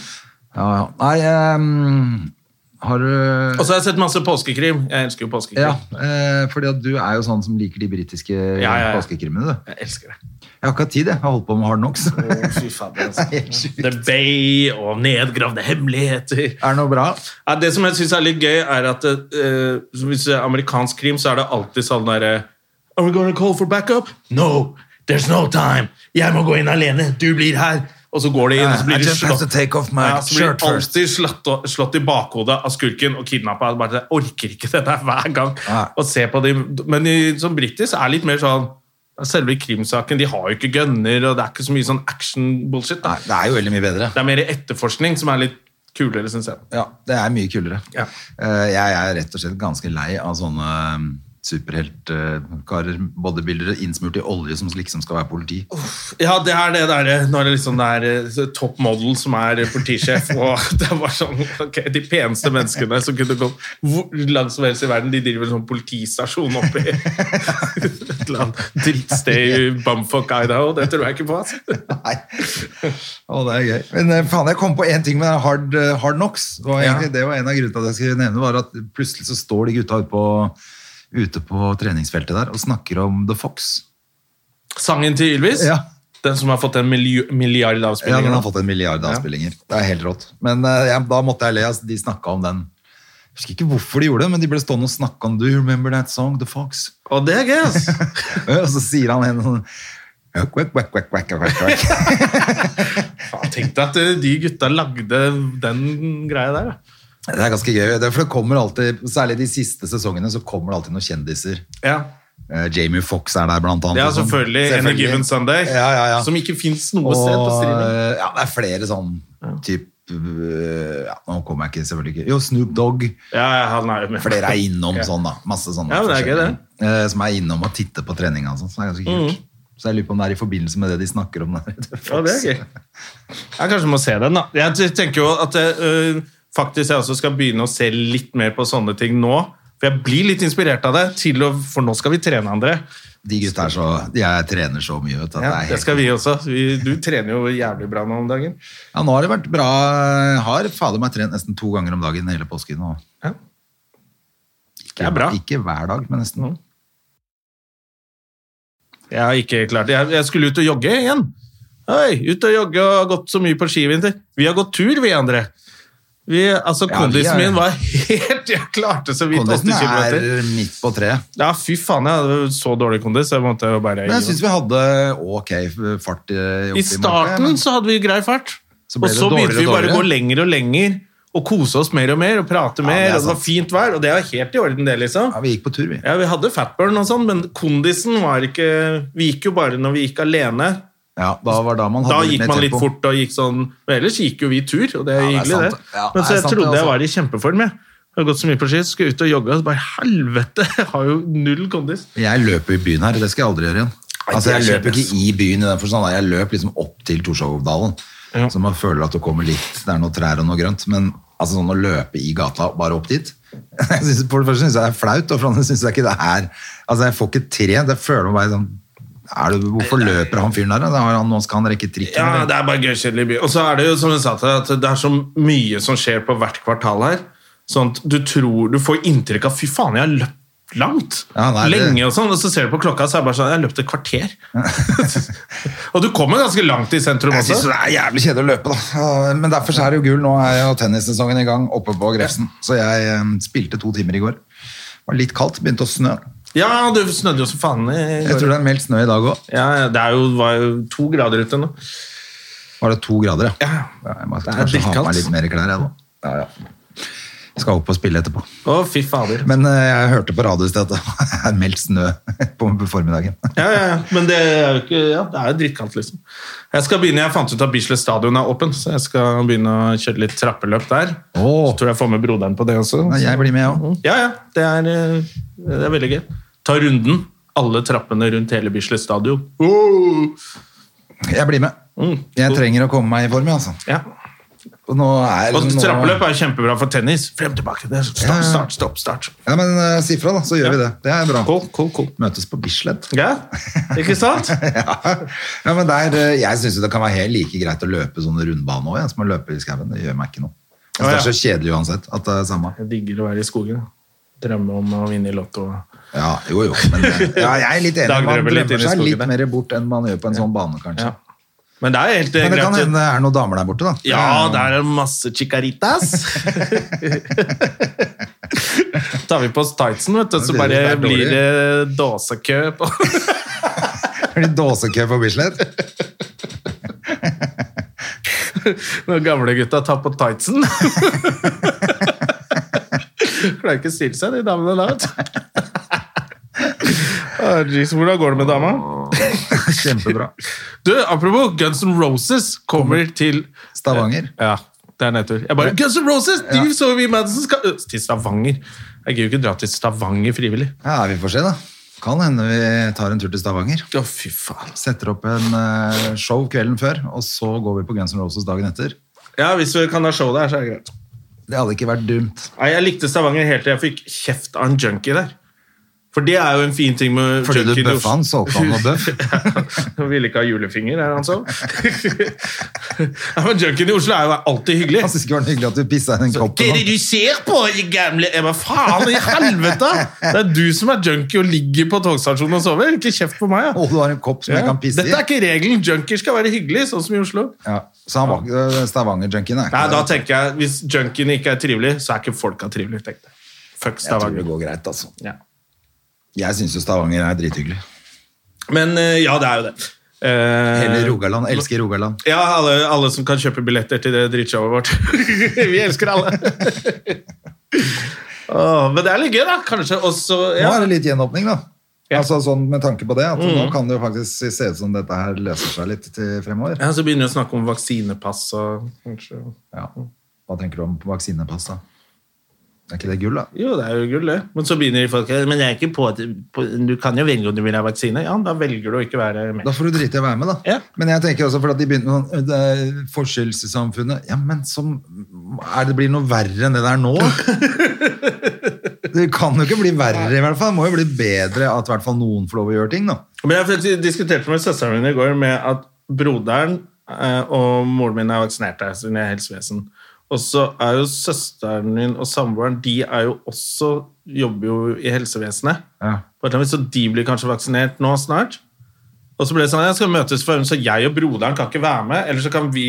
Speaker 2: Ja, ja. Nei, ehm, har
Speaker 1: Og
Speaker 2: du
Speaker 1: så har jeg sett masse påskekrim. Jeg elsker jo påskekrim.
Speaker 2: Ja, eh, fordi at du er jo sånn som liker de britiske
Speaker 1: Ja, ja, ja.
Speaker 2: påskekrimene, du.
Speaker 1: Jeg elsker det.
Speaker 2: Jeg har ikke hatt tid, jeg. Jeg har holdt på med Hard Knocks.
Speaker 1: Å, fy faen, det er
Speaker 2: Det
Speaker 1: altså-
Speaker 2: er helt sjukt.
Speaker 1: The Bay og nedgravde hemmeligheter.
Speaker 2: Er det noe bra?
Speaker 1: Ja, det som jeg syns er litt gøy, er at eh, så hvis det er amerikansk krim, så er det alltid sånn derre Are we gonna call for backup? No! There's no time! Jeg må gå inn alene! Du blir her! Og så går de inn, og så
Speaker 2: I
Speaker 1: blir de
Speaker 2: just have to
Speaker 1: slått.
Speaker 2: take off my
Speaker 1: Ja, så blir
Speaker 2: shirt
Speaker 1: de
Speaker 2: first.
Speaker 1: alltid slått, slått i bakhodet av skurken og kidnappa. Jeg orker ikke dette her hver gang.
Speaker 2: Nei.
Speaker 1: Og se på de. Men i, som britisk er det litt mer sånn Selve krimsaken, de har jo ikke gønner, og det er ikke så mye sånn action-bullshit.
Speaker 2: Nei,
Speaker 1: da.
Speaker 2: det er jo veldig mye bedre.
Speaker 1: Det er mer etterforskning som er litt kulere, syns jeg.
Speaker 2: Ja, det er mye kulere.
Speaker 1: Ja.
Speaker 2: Eh, Jeg er rett og slett ganske lei av sånne mm, superheltkarer, bodybuildere innsmurt i olje som liksom skal være politi.
Speaker 1: Ja, det er det der når det liksom er eh, top model som er politisjef, og det var sånn ok, De peneste menneskene som kunne gå hvor langt som helst i verden, de driver en sånn politistasjon oppe i et eller annet drittsted i Bumfuck, Idaho. Det tror jeg ikke på, altså.
Speaker 2: Nei. Å, det er gøy. Men eh, faen, jeg kom på en ting med Hard, eh, hard Knocks. Og egentlig,
Speaker 1: Ja.
Speaker 2: Det var en av grunnene til at jeg skulle nevne var at plutselig så står de gutta ute på, ute på treningsfeltet der og snakker om The Fox.
Speaker 1: Sangen til Ylvis,
Speaker 2: Ja.
Speaker 1: den som har fått en milli- milliard
Speaker 2: Ja,
Speaker 1: avspillinger.
Speaker 2: den har
Speaker 1: nå.
Speaker 2: fått en milliard avspillinger. Det er helt rått. Men eh, ja, da måtte jeg le. Altså, de snakka om den. Jeg husker ikke hvorfor de gjorde det, men de ble stående og snakke om Do you remember that song, The Fox?
Speaker 1: Og det er gøy, altså. ass.
Speaker 2: og så sier han en sånn ja, quack, quack, quack, quack, quack, quack.
Speaker 1: Faen, Tenk deg at eh, de gutta lagde den greia der. da.
Speaker 2: Det er ganske gøy. Det er for det kommer alltid, Særlig de siste sesongene så kommer det alltid noen kjendiser.
Speaker 1: Ja,
Speaker 2: Eh, Jamie Foxx er der, blant annet.
Speaker 1: ja
Speaker 2: liksom.
Speaker 1: selvfølgelig. Any Given Sunday,
Speaker 2: Ja, ja, ja.
Speaker 1: som ikke fins noe
Speaker 2: Og,
Speaker 1: sted på streaming.
Speaker 2: eh, ja, det er flere sånn typ, eh, ja, Nå kommer jeg ikke selvfølgelig ikke Jo, Snoop Dogg.
Speaker 1: Ja, ja, han er jo med.
Speaker 2: Flere er innom
Speaker 1: Ja.
Speaker 2: sånn, da. Masse sånne
Speaker 1: Ja, men det er gøy, det. Mm.
Speaker 2: forskjellige, eh, som er innom og titter på treninga og sånn. Så det er ganske kult. Så jeg lurer på om det er i forbindelse med det de snakker om der.
Speaker 1: Ja, det er gøy. Jeg kanskje må se den, da. Jeg t- tenker jo at øh, faktisk jeg også skal begynne å se litt mer på sånne ting nå. For jeg blir litt inspirert av det, til å, for nå skal vi trene, André.
Speaker 2: De gutta er så De er, trener så mye, vet du.
Speaker 1: Ja,
Speaker 2: at det er
Speaker 1: det
Speaker 2: helt
Speaker 1: skal vi også. Vi, du trener jo jævlig bra nå om dagen.
Speaker 2: Ja, nå har det vært bra. Jeg Har fader meg trent nesten to ganger om dagen hele påsken. Og
Speaker 1: Ja. Det er bra. Mm.
Speaker 2: Ikke hver dag, men nesten.
Speaker 1: Jeg har ikke klart det. Jeg, jeg skulle ut og jogge igjen. Oi, ut og jogge og har gått så mye på ski i vinter. Vi har gått tur, vi, André. Vi, altså,
Speaker 2: Ja, vi
Speaker 1: Kondisen
Speaker 2: er-
Speaker 1: min var helt Jeg klarte så vidt 80
Speaker 2: Kondisen
Speaker 1: kilometer.
Speaker 2: er midt på treet.
Speaker 1: Ja, fy faen, jeg hadde så dårlig kondis. Jeg måtte jo bare
Speaker 2: Men jeg syns vi hadde ok fart. eh, opp
Speaker 1: I
Speaker 2: morgen,
Speaker 1: starten
Speaker 2: men-
Speaker 1: så hadde vi grei fart,
Speaker 2: Så
Speaker 1: og
Speaker 2: ble det
Speaker 1: så begynte
Speaker 2: dårligere
Speaker 1: vi
Speaker 2: og
Speaker 1: bare å gå
Speaker 2: dårligere.
Speaker 1: lenger og lenger og kose oss mer og mer og prate mer.
Speaker 2: det er
Speaker 1: og det var
Speaker 2: sant.
Speaker 1: fint vær, og det er helt i orden, det, liksom.
Speaker 2: Ja, vi gikk på tur, vi.
Speaker 1: Ja, Vi hadde fatburn og sånn, men kondisen var ikke Vi gikk jo bare når vi gikk alene.
Speaker 2: Ja, da var da man hadde
Speaker 1: Da gikk
Speaker 2: mer
Speaker 1: man litt
Speaker 2: tempo.
Speaker 1: fort og gikk sånn Men ellers gikk jo vi tur, og det er
Speaker 2: Ja, det er
Speaker 1: hyggelig,
Speaker 2: sant.
Speaker 1: det.
Speaker 2: Ja, det
Speaker 1: Men
Speaker 2: er
Speaker 1: så jeg
Speaker 2: sant, det,
Speaker 1: trodde jeg
Speaker 2: altså.
Speaker 1: var i kjempeform, jeg. Jeg har gått så mye på ski, så skal jeg ut og jogge, og så bare helvete! Jeg har jo null kondis.
Speaker 2: Jeg løper i byen her, det skal jeg aldri gjøre igjen.
Speaker 1: Nei,
Speaker 2: Altså,
Speaker 1: det er
Speaker 2: jeg løper
Speaker 1: kjedelig,
Speaker 2: ikke i byen, i den forstand. jeg løp liksom opp til Torshovdalen.
Speaker 1: Ja.
Speaker 2: Så man føler at det kommer litt, det er noe trær og noe grønt, men altså sånn å løpe i gata, bare opp dit, jeg synes, for det første synes jeg det er flaut, og for det andre synes jeg ikke det er, altså jeg får ikke tre, det føler meg bare sånn, er det, hvorfor løper han fyren der? Da har han, nå skal han rekke trikken.
Speaker 1: Ja,
Speaker 2: eller?
Speaker 1: det er bare gøykjedelig by. Og så er det jo, som jeg sa til deg, at det er så mye som skjer på hvert kvartal her. Sånn at du tror, du får inntrykk av fy faen, jeg har løpt langt.
Speaker 2: Ja, nei, det-
Speaker 1: Lenge og sånn. Og så ser du på klokka, så er det bare sånn Jeg har løpt et kvarter. og du kommer ganske langt i sentrum
Speaker 2: Jeg synes
Speaker 1: også.
Speaker 2: det er jævlig kjedelig å løpe, da. Men derfor så er det jo gull. Nå er jo tennissesongen i gang oppe på Grefsen. Så jeg eh, spilte to timer i går. Det var litt kaldt, begynte å snø.
Speaker 1: Ja, du snødde jo som faen i
Speaker 2: Jeg tror det er meldt snø i dag òg.
Speaker 1: Ja, ja, det er jo, var jo to grader ute nå.
Speaker 2: Var det to grader, ja? Jeg må
Speaker 1: Det er
Speaker 2: kanskje ha på
Speaker 1: dritkaldt.
Speaker 2: meg litt mer klær, jeg, da. Ja, ja. Skal opp og spille etterpå.
Speaker 1: Å, fy fader.
Speaker 2: Men eh, jeg hørte på radio i sted at det er meldt snø på formiddagen.
Speaker 1: Ja, ja, ja. Men det er jo ikke Ja, det er jo drittkaldt, liksom. Jeg skal begynne, jeg fant ut at Bislett stadion er åpen, så jeg skal begynne å kjøre litt trappeløp der.
Speaker 2: Åh.
Speaker 1: Så tror jeg jeg får med broderen på det også.
Speaker 2: Nei, Jeg blir med, jeg òg.
Speaker 1: Ja, ja. Det er, eh, det er veldig gøy. Ta runden. Alle trappene rundt hele Bislett stadion. Oh!
Speaker 2: Jeg blir med.
Speaker 1: Mm.
Speaker 2: Jeg trenger å komme meg i form, jeg, altså.
Speaker 1: Ja.
Speaker 2: Og nå er
Speaker 1: Og
Speaker 2: nå-
Speaker 1: trappeløp er kjempebra for tennis. Frem tilbake. Det er
Speaker 2: Ja,
Speaker 1: stopp,
Speaker 2: ja.
Speaker 1: start, stopp, start.
Speaker 2: Ja, men eh, si fra, da, så gjør vi det. Det er bra.
Speaker 1: Cool, cool, cool.
Speaker 2: Møtes på Bislett.
Speaker 1: Ja, ikke sant?
Speaker 2: ja. ja, men der, eh, jeg syns det kan være helt like greit å løpe sånne rundbaner òg, som å løpe i skauen. Det gjør meg ikke noe. Jeg synes
Speaker 1: Å, ja.
Speaker 2: Det er så kjedelig uansett at det er samme.
Speaker 1: Jeg digger å være i skogen. Drømme om å vinne i Lotto.
Speaker 2: Ja, jo, jo. Men eh, ja, jeg er litt enig. Man
Speaker 1: Dagdrømmer litt inn
Speaker 2: drømmer
Speaker 1: i
Speaker 2: seg
Speaker 1: skogen,
Speaker 2: litt
Speaker 1: det.
Speaker 2: mer bort enn man gjør på en sånn bane, kanskje.
Speaker 1: Ja. Men det er helt eh,
Speaker 2: Men det kan
Speaker 1: greit.
Speaker 2: hende det er noen damer der borte, da.
Speaker 1: Ja, der er det masse chicaritas. Tar vi på oss tightsen, vet du, så
Speaker 2: Det blir-
Speaker 1: bare
Speaker 2: det er dårlig.
Speaker 1: blir det dåsekø. På.
Speaker 2: Er det dåsekø på Bislett?
Speaker 1: Når gamlegutta tar på tightsen. Klarer ikke å stille seg, de damene der. vet du. Ah, jeez, hvordan går det med dama?
Speaker 2: Kjempebra.
Speaker 1: Du, apropos Guns N' Roses kommer til
Speaker 2: Stavanger.
Speaker 1: Eh, Ja, det er nedtur. Jeg bare, Guns N' Roses! De så vi i Madison Ska- Øh, Til Stavanger. Jeg gidder jo ikke dra til Stavanger frivillig.
Speaker 2: Ja, vi får se, da. Kan hende vi tar en tur til Stavanger.
Speaker 1: Å, fy faen.
Speaker 2: Setter opp en eh, show kvelden før, og så går vi på Guns N' Roses dagen etter.
Speaker 1: Ja, hvis vi kan ha show der, så er det greit.
Speaker 2: Det hadde ikke vært dumt.
Speaker 1: Nei, Jeg likte Stavanger helt til jeg fikk kjeft av en junkie der. For det er jo en fin ting med
Speaker 2: Fordi du
Speaker 1: junkie-
Speaker 2: bøffa han, solgte han og bøff.
Speaker 1: Han ville ikke ha julefinger, er han så? ja, men junkien i Oslo er jo alltid hyggelig.
Speaker 2: Jeg synes ikke det var noe hyggelig at du pissa i den
Speaker 1: Hva
Speaker 2: koppen.
Speaker 1: er det
Speaker 2: da.
Speaker 1: du ser på, i gamle Jeg bare, faen i helvete! Det er du som er junkie og ligger på togstasjonen og sover. Ikke kjeft på meg, ja.
Speaker 2: Og du har en kopp som jeg
Speaker 1: ja.
Speaker 2: kan pisse
Speaker 1: Dette
Speaker 2: i.
Speaker 1: er ikke regelen. Junkier skal være hyggelig, sånn som i Oslo.
Speaker 2: Ja. Så han var ikke eh, Stavanger-junkien, er
Speaker 1: Nei, da
Speaker 2: ikke det?
Speaker 1: tenker jeg, Hvis junkiene ikke er trivelige, så er ikke folka trivelige. tenkte jeg. Fuck
Speaker 2: Jeg tror det
Speaker 1: Stavanger.
Speaker 2: går greit, altså.
Speaker 1: Ja.
Speaker 2: Jeg syns jo Stavanger er drithyggelig.
Speaker 1: Men eh, ja, det er jo det. Eh,
Speaker 2: Hele Rogaland. Elsker Rogaland.
Speaker 1: Ja, alle, alle som kan kjøpe billetter til det drittshowet vårt. Vi elsker alle! Åh, men det er litt gøy, da. Kanskje også
Speaker 2: Nå
Speaker 1: ja.
Speaker 2: er det litt gjenåpning, da.
Speaker 1: Ja. Mm.
Speaker 2: Altså sånn Med tanke på det, at nå kan det jo faktisk se ut som dette her løser seg litt til fremover.
Speaker 1: ja, Så begynner vi å snakke om vaksinepass og kanskje
Speaker 2: Ja. Hva tenker du om vaksinepass, da? Er ikke det gull, da?
Speaker 1: Jo, det er jo gull, det. Men så begynner de folk Men jeg er ikke på, på Du kan jo velge om du vil ha vaksine. Ja, da velger du å ikke være med.
Speaker 2: Da får du drite i å være med, da.
Speaker 1: Ja.
Speaker 2: Men jeg tenker også for at de begynte med sånn det er forskjellssamfunnet Ja, men som er det blir noe verre enn det der nå? det kan jo ikke bli verre, i hvert fall. Det må jo bli bedre at i hvert fall noen får lov å gjøre ting, da.
Speaker 1: Men jeg faktisk diskuterte med søsteren min i går med at broderen eh, og moren min er vaksinert der, siden jeg er helsevesen. Og så er jo søsteren min og samboeren de er jo også, jobber jo i helsevesenet.
Speaker 2: Ja.
Speaker 1: På et eller annet vis, Så de blir kanskje vaksinert nå snart. Og så ble det sånn, jeg skal møtes for så jeg og broderen kan ikke være med. eller så kan vi...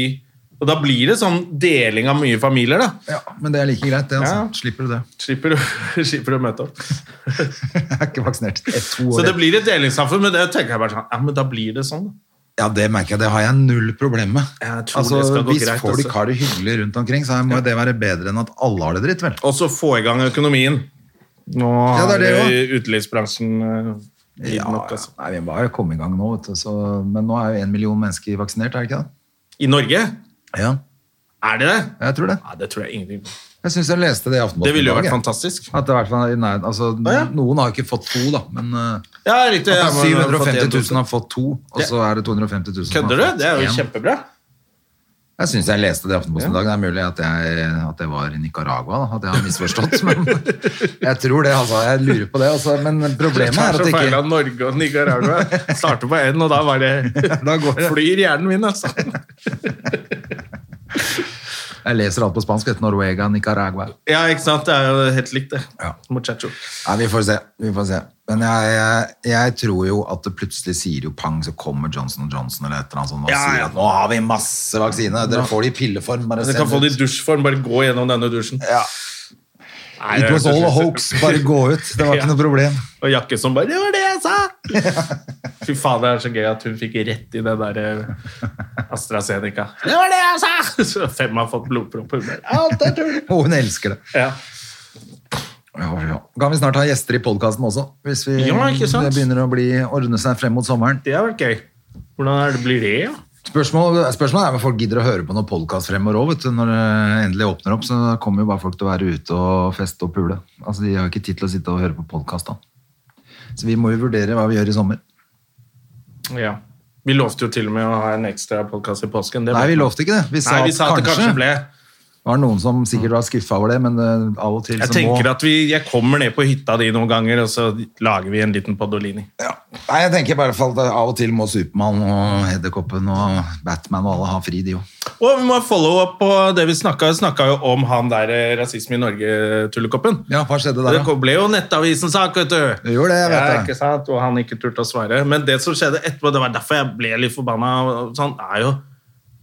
Speaker 1: Og da blir det sånn deling av mye familier, da.
Speaker 2: Ja, men det er like greit, det.
Speaker 1: Ja.
Speaker 2: altså. Slipper du det.
Speaker 1: Slipper, å- slipper å møte opp.
Speaker 2: Jeg er ikke vaksinert. Jeg er to
Speaker 1: Så det
Speaker 2: år.
Speaker 1: blir et delingssamfunn, men det tenker jeg bare sånn, ja, men da blir det sånn. da.
Speaker 2: Ja, det merker jeg. Det har jeg null problem med.
Speaker 1: Jeg tror
Speaker 2: Altså,
Speaker 1: det skal gå
Speaker 2: hvis
Speaker 1: greit,
Speaker 2: folk
Speaker 1: altså.
Speaker 2: har det hyggelig rundt omkring, så må jo det være bedre enn at alle har det dritt, vel.
Speaker 1: Og så få i gang økonomien. Nå
Speaker 2: Ja, det er
Speaker 1: har
Speaker 2: det
Speaker 1: jo utelivsbransjen eh, gitt
Speaker 2: Ja,
Speaker 1: nok, altså.
Speaker 2: nei, vi må bare komme i gang nå, vet du. Så, men nå er jo en million mennesker vaksinert, er det ikke det?
Speaker 1: I Norge?
Speaker 2: Ja,
Speaker 1: Er det det?
Speaker 2: jeg tror det.
Speaker 1: Nei, det tror jeg ingenting på.
Speaker 2: Jeg syns jeg leste det i Aftenposten.
Speaker 1: Det ville jo
Speaker 2: i dag,
Speaker 1: vært
Speaker 2: jeg.
Speaker 1: fantastisk.
Speaker 2: At det i hvert fall, nei, altså,
Speaker 1: ja.
Speaker 2: Noen har ikke fått to, da. Men eh,
Speaker 1: Ja, riktig.
Speaker 2: at
Speaker 1: ja,
Speaker 2: det
Speaker 1: man
Speaker 2: er
Speaker 1: har fått
Speaker 2: 750
Speaker 1: en dose.
Speaker 2: 000 har fått to, og
Speaker 1: Det-
Speaker 2: så er det 250 000 som har
Speaker 1: Kødder du?
Speaker 2: fått
Speaker 1: Det er jo
Speaker 2: en.
Speaker 1: kjempebra.
Speaker 2: Jeg syns jeg leste det i Aftenposten i dag. Det er mulig at jeg, at jeg var i Nicaragua, da. At jeg har misforstått. men jeg tror det, altså. Jeg lurer på det. Altså. Men
Speaker 1: Det
Speaker 2: problemet
Speaker 1: er
Speaker 2: er
Speaker 1: så
Speaker 2: at
Speaker 1: feil
Speaker 2: ikke
Speaker 1: av Norge og Nicaragua. Starter på N, og da bare
Speaker 2: Da går det.
Speaker 1: flyr hjernen min, altså.
Speaker 2: Jeg leser alt på spansk. vet du, Noruega, Nicaragua.
Speaker 1: Ja, ikke sant? Det er jo helt likt, det.
Speaker 2: Ja.
Speaker 1: Muchacho.
Speaker 2: Nei, vi får se. Vi får se. Men jeg, jeg, jeg tror jo at det plutselig sier jo pang, så kommer Johnson Johnson eller et eller annet sånt og
Speaker 1: Ja, ja.
Speaker 2: sier at nå har vi masse vaksine. Dere får det i pilleform. Bare
Speaker 1: Dere kan
Speaker 2: send
Speaker 1: få det
Speaker 2: ut.
Speaker 1: i dusjform. Bare gå gjennom denne dusjen.
Speaker 2: Ja.
Speaker 1: Nei,
Speaker 2: It
Speaker 1: det
Speaker 2: was
Speaker 1: hørtes
Speaker 2: all a
Speaker 1: ut-
Speaker 2: hoax. Bare gå ut. Det var
Speaker 1: Ja.
Speaker 2: ikke noe problem.
Speaker 1: Og Jakke som bare 'Det var det jeg sa!' Fy faen, det er så gøy at hun fikk rett i det der eh, AstraZeneca. 'Det var det jeg sa!' Så fem har fått blodpropp. Hun bare, «Ja, det er tull».
Speaker 2: Og hun elsker det.
Speaker 1: Ja.
Speaker 2: Ja, ja. Kan vi snart ha gjester i podkasten også? Hvis vi,
Speaker 1: Ja, ikke sant?
Speaker 2: det begynner å bli, ordne seg frem mot sommeren.
Speaker 1: Det har vært gøy. Hvordan er det, blir det? Ja?
Speaker 2: Spørsmål, spørsmålet er om folk gidder å høre på noen podkast fremover òg. Når det endelig åpner opp, så kommer jo bare folk til å være ute og feste og pule. Altså, De har jo ikke tid til å sitte og høre på podkast da. Så vi må jo vurdere hva vi gjør i sommer.
Speaker 1: ja. Vi lovte jo til og med å ha en ekstra podkast i påsken. Det
Speaker 2: Nei, vi
Speaker 1: ble-
Speaker 2: lovte ikke det. Vi sa,
Speaker 1: Nei, vi sa at det kanskje ble.
Speaker 2: Det var noen som sikkert var skuffa over det, men eh, av og til
Speaker 1: Jeg
Speaker 2: så må
Speaker 1: tenker at vi, jeg kommer ned på hytta di noen ganger, og så lager vi en liten Podolini.
Speaker 2: ja. Nei, jeg tenker bare for at eh, av og til må Supermann og Edderkoppen og Batman og alle ha fri, de òg.
Speaker 1: Og vi må follow up på det vi snakka snakka jo om han der eh, Rasisme i Norge-tullekoppen.
Speaker 2: Ja, hva skjedde der,
Speaker 1: Det
Speaker 2: da?
Speaker 1: kom- ble jo Nettavisens sak, vet du.
Speaker 2: Det gjorde det, jeg vet
Speaker 1: ja,
Speaker 2: det.
Speaker 1: ikke sant? Og han ikke turte å svare. Men det som skjedde etterpå, det var derfor jeg ble litt forbanna. og Sånn, er jo,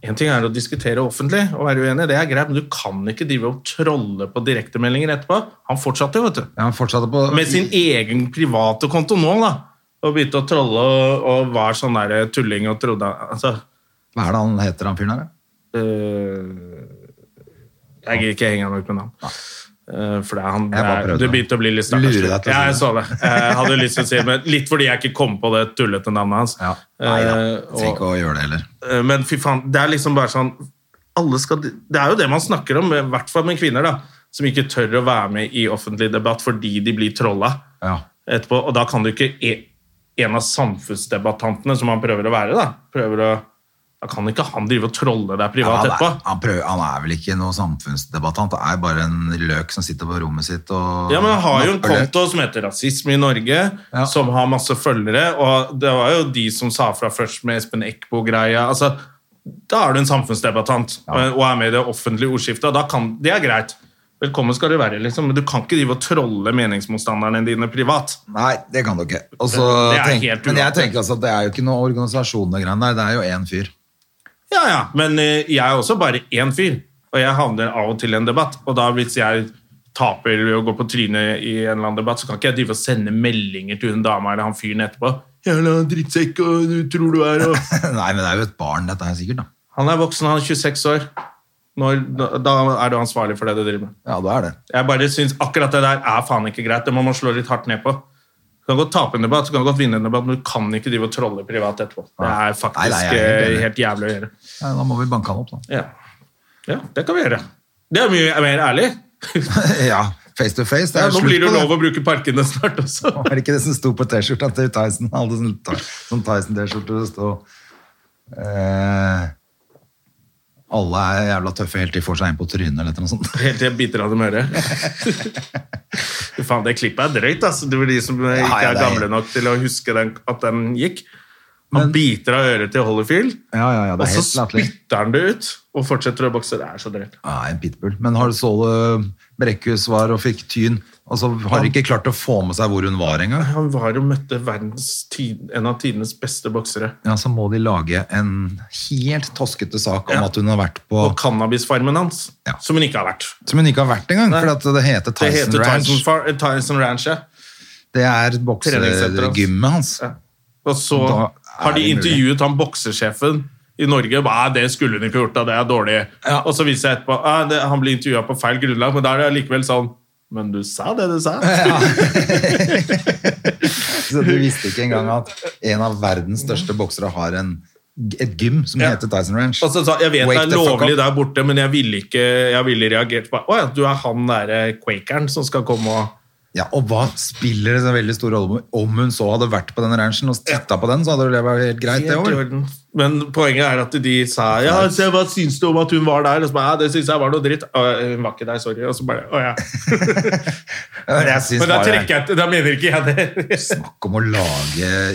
Speaker 1: en ting er å diskutere offentlig og være uenig, det er greit, men du kan ikke drive og trolle på direktemeldinger etterpå. Han fortsatte jo, vet du.
Speaker 2: Ja, han fortsatte på
Speaker 1: Med sin egen private konto nå, da. Og begynte å trolle og, og var sånn der tulling og trodde Altså
Speaker 2: Hva er det han heter, han fyren her? da?
Speaker 1: øh, Jeg gidder ikke henge meg ut med navn. Øh, for det er han
Speaker 2: Jeg bare
Speaker 1: det er-
Speaker 2: prøvde.
Speaker 1: Du begynte å bli litt stakkars.
Speaker 2: Lure deg til å si
Speaker 1: Ja, jeg
Speaker 2: det.
Speaker 1: så det. Jeg hadde lyst til å si det, men litt fordi jeg ikke kom på det tullete navnet hans.
Speaker 2: Ja. Nei da,
Speaker 1: Eh,
Speaker 2: trenger
Speaker 1: og,
Speaker 2: ikke å gjøre det heller.
Speaker 1: eh, men fy faen, det er liksom bare sånn alle skal, Det er jo det man snakker om, i hvert fall med kvinner, da, som ikke tør å være med i offentlig debatt fordi de blir trolla
Speaker 2: Ja.
Speaker 1: etterpå. Og da kan du ikke e- En av samfunnsdebattantene, som han prøver å være, da prøver å, Da kan ikke han drive og trolle deg privat
Speaker 2: han,
Speaker 1: etterpå.
Speaker 2: er, han, prøver, han er vel ikke noen samfunnsdebattant, han er bare en løk som sitter på rommet sitt og
Speaker 1: Ja, men Han har jo en
Speaker 2: napper det.
Speaker 1: konto som heter Rasisme i Norge,
Speaker 2: Ja.
Speaker 1: som har masse følgere. Og det var jo de som sa fra først med Espen Eckbo-greia. altså, Da er du en samfunnsdebattant eh, og- og er med i det offentlige ordskiftet. og da kan, Det er greit. Velkommen skal du være, liksom. Men du kan ikke drive og trolle meningsmotstanderne dine privat.
Speaker 2: Nei, det kan du ikke. Og så
Speaker 1: Det er
Speaker 2: tenk,
Speaker 1: helt
Speaker 2: men jeg
Speaker 1: uaktuelt.
Speaker 2: tenker altså at det er jo ikke noen organisasjon og greier der, det er jo én fyr.
Speaker 1: Ja, ja, men eh, jeg er også bare én fyr, og jeg havner av og til i en debatt. Og da hvis jeg taper ved å gå på trynet i en eller annen debatt, så kan ikke jeg drive og sende meldinger til hun dama eller han fyren etterpå. Jævla drittsekk, og du tror du er og
Speaker 2: Nei, men det er jo et barn, dette her sikkert, da.
Speaker 1: Han er voksen, han er 26 år. Når, da, da er du ansvarlig for det du driver med.
Speaker 2: Ja, det er det.
Speaker 1: Jeg bare synes akkurat det der er faen ikke greit. Det må man slå litt hardt ned på. Du kan godt tape en debatt, du kan godt vinne en debatt, men du kan ikke drive og trolle privat etterpå. Det er faktisk
Speaker 2: Nei, nei, jeg er helt
Speaker 1: eh,
Speaker 2: enig.
Speaker 1: helt jævlig å gjøre.
Speaker 2: Nei, da må vi banke han opp, da.
Speaker 1: Ja. ja, det kan vi gjøre. Det er mye mer ærlig.
Speaker 2: ja, face to face. Det
Speaker 1: Ja,
Speaker 2: er
Speaker 1: nå
Speaker 2: slutt
Speaker 1: blir det
Speaker 2: på
Speaker 1: jo
Speaker 2: det.
Speaker 1: lov å bruke parkene snart også.
Speaker 2: Var det ikke det som sto på T-skjorta til Tyson? Alle sånne ta- sånn Tyson-T-skjorter det sto eh, Alle er jævla tøffe helt til de får seg en på trynet eller noe sånt.
Speaker 1: Helt til jeg biter av dem øret. Fy Faen, det klippet er drøyt, altså. Det var de som eh, ikke
Speaker 2: ja,
Speaker 1: er
Speaker 2: det er-
Speaker 1: gamle nok til å huske den, at den gikk. Han
Speaker 2: Men-
Speaker 1: biter av øret til Holyfield,
Speaker 2: Ja, ja, ja,
Speaker 1: og
Speaker 2: det er
Speaker 1: så
Speaker 2: helt latterlig.
Speaker 1: spytter han det ut og fortsetter å bokse. Det er så drøyt.
Speaker 2: Ja, en pitbull. Men har du så det Brekkhus var og fikk tyn, og så har de ikke klart å få med seg hvor hun var engang?
Speaker 1: Han var og møtte verdens tid, en av tidenes beste boksere.
Speaker 2: Ja, så må de lage en helt toskete sak om
Speaker 1: Ja.
Speaker 2: at hun har vært på
Speaker 1: Og cannabisfarmen hans,
Speaker 2: Ja.
Speaker 1: som hun ikke har vært.
Speaker 2: Som hun ikke har vært engang,
Speaker 1: Nei.
Speaker 2: for at det heter
Speaker 1: Det
Speaker 2: Tyson
Speaker 1: heter
Speaker 2: Ranch.
Speaker 1: Tyson, Far- Tyson Ranch, ja.
Speaker 2: Det er
Speaker 1: Treningssenteret hans.
Speaker 2: boksegymmet hans.
Speaker 1: Ja. Og så
Speaker 2: Da er
Speaker 1: har de
Speaker 2: det mulig.
Speaker 1: intervjuet han boksesjefen i Norge. Nei, det skulle hun ikke gjort, da. det er dårlig.
Speaker 2: Ja.
Speaker 1: Og så viser jeg etterpå ah, det, han blir intervjua på feil grunnlag, men da er det allikevel sånn Men du sa det du sa.
Speaker 2: Så du visste ikke engang at en av verdens største boksere har en, et gym som
Speaker 1: Ja.
Speaker 2: heter Tyson Ranch.
Speaker 1: Og så sa jeg vet
Speaker 2: Wake
Speaker 1: det er
Speaker 2: the fuck
Speaker 1: lovlig
Speaker 2: up.
Speaker 1: der borte, men jeg ville ikke jeg ville reagert på Å ja, du er han derre quakeren som skal komme og
Speaker 2: Ja, og hva spiller det så veldig stor rolle om- om hun så hadde vært på den ranchen og titta på den, så hadde det vært helt greit, det
Speaker 1: Helt i
Speaker 2: òg.
Speaker 1: orden. Men poenget er at de sa Ja, se, hva syns du om at hun var der? Og så bare, ja, det syns jeg var noe dritt. «Å, Hun var ikke der, sorry. Og så bare Å ja.
Speaker 2: Jeg syns
Speaker 1: Men da
Speaker 2: bare
Speaker 1: trekker jeg Da mener ikke jeg det.
Speaker 2: Snakk om å lage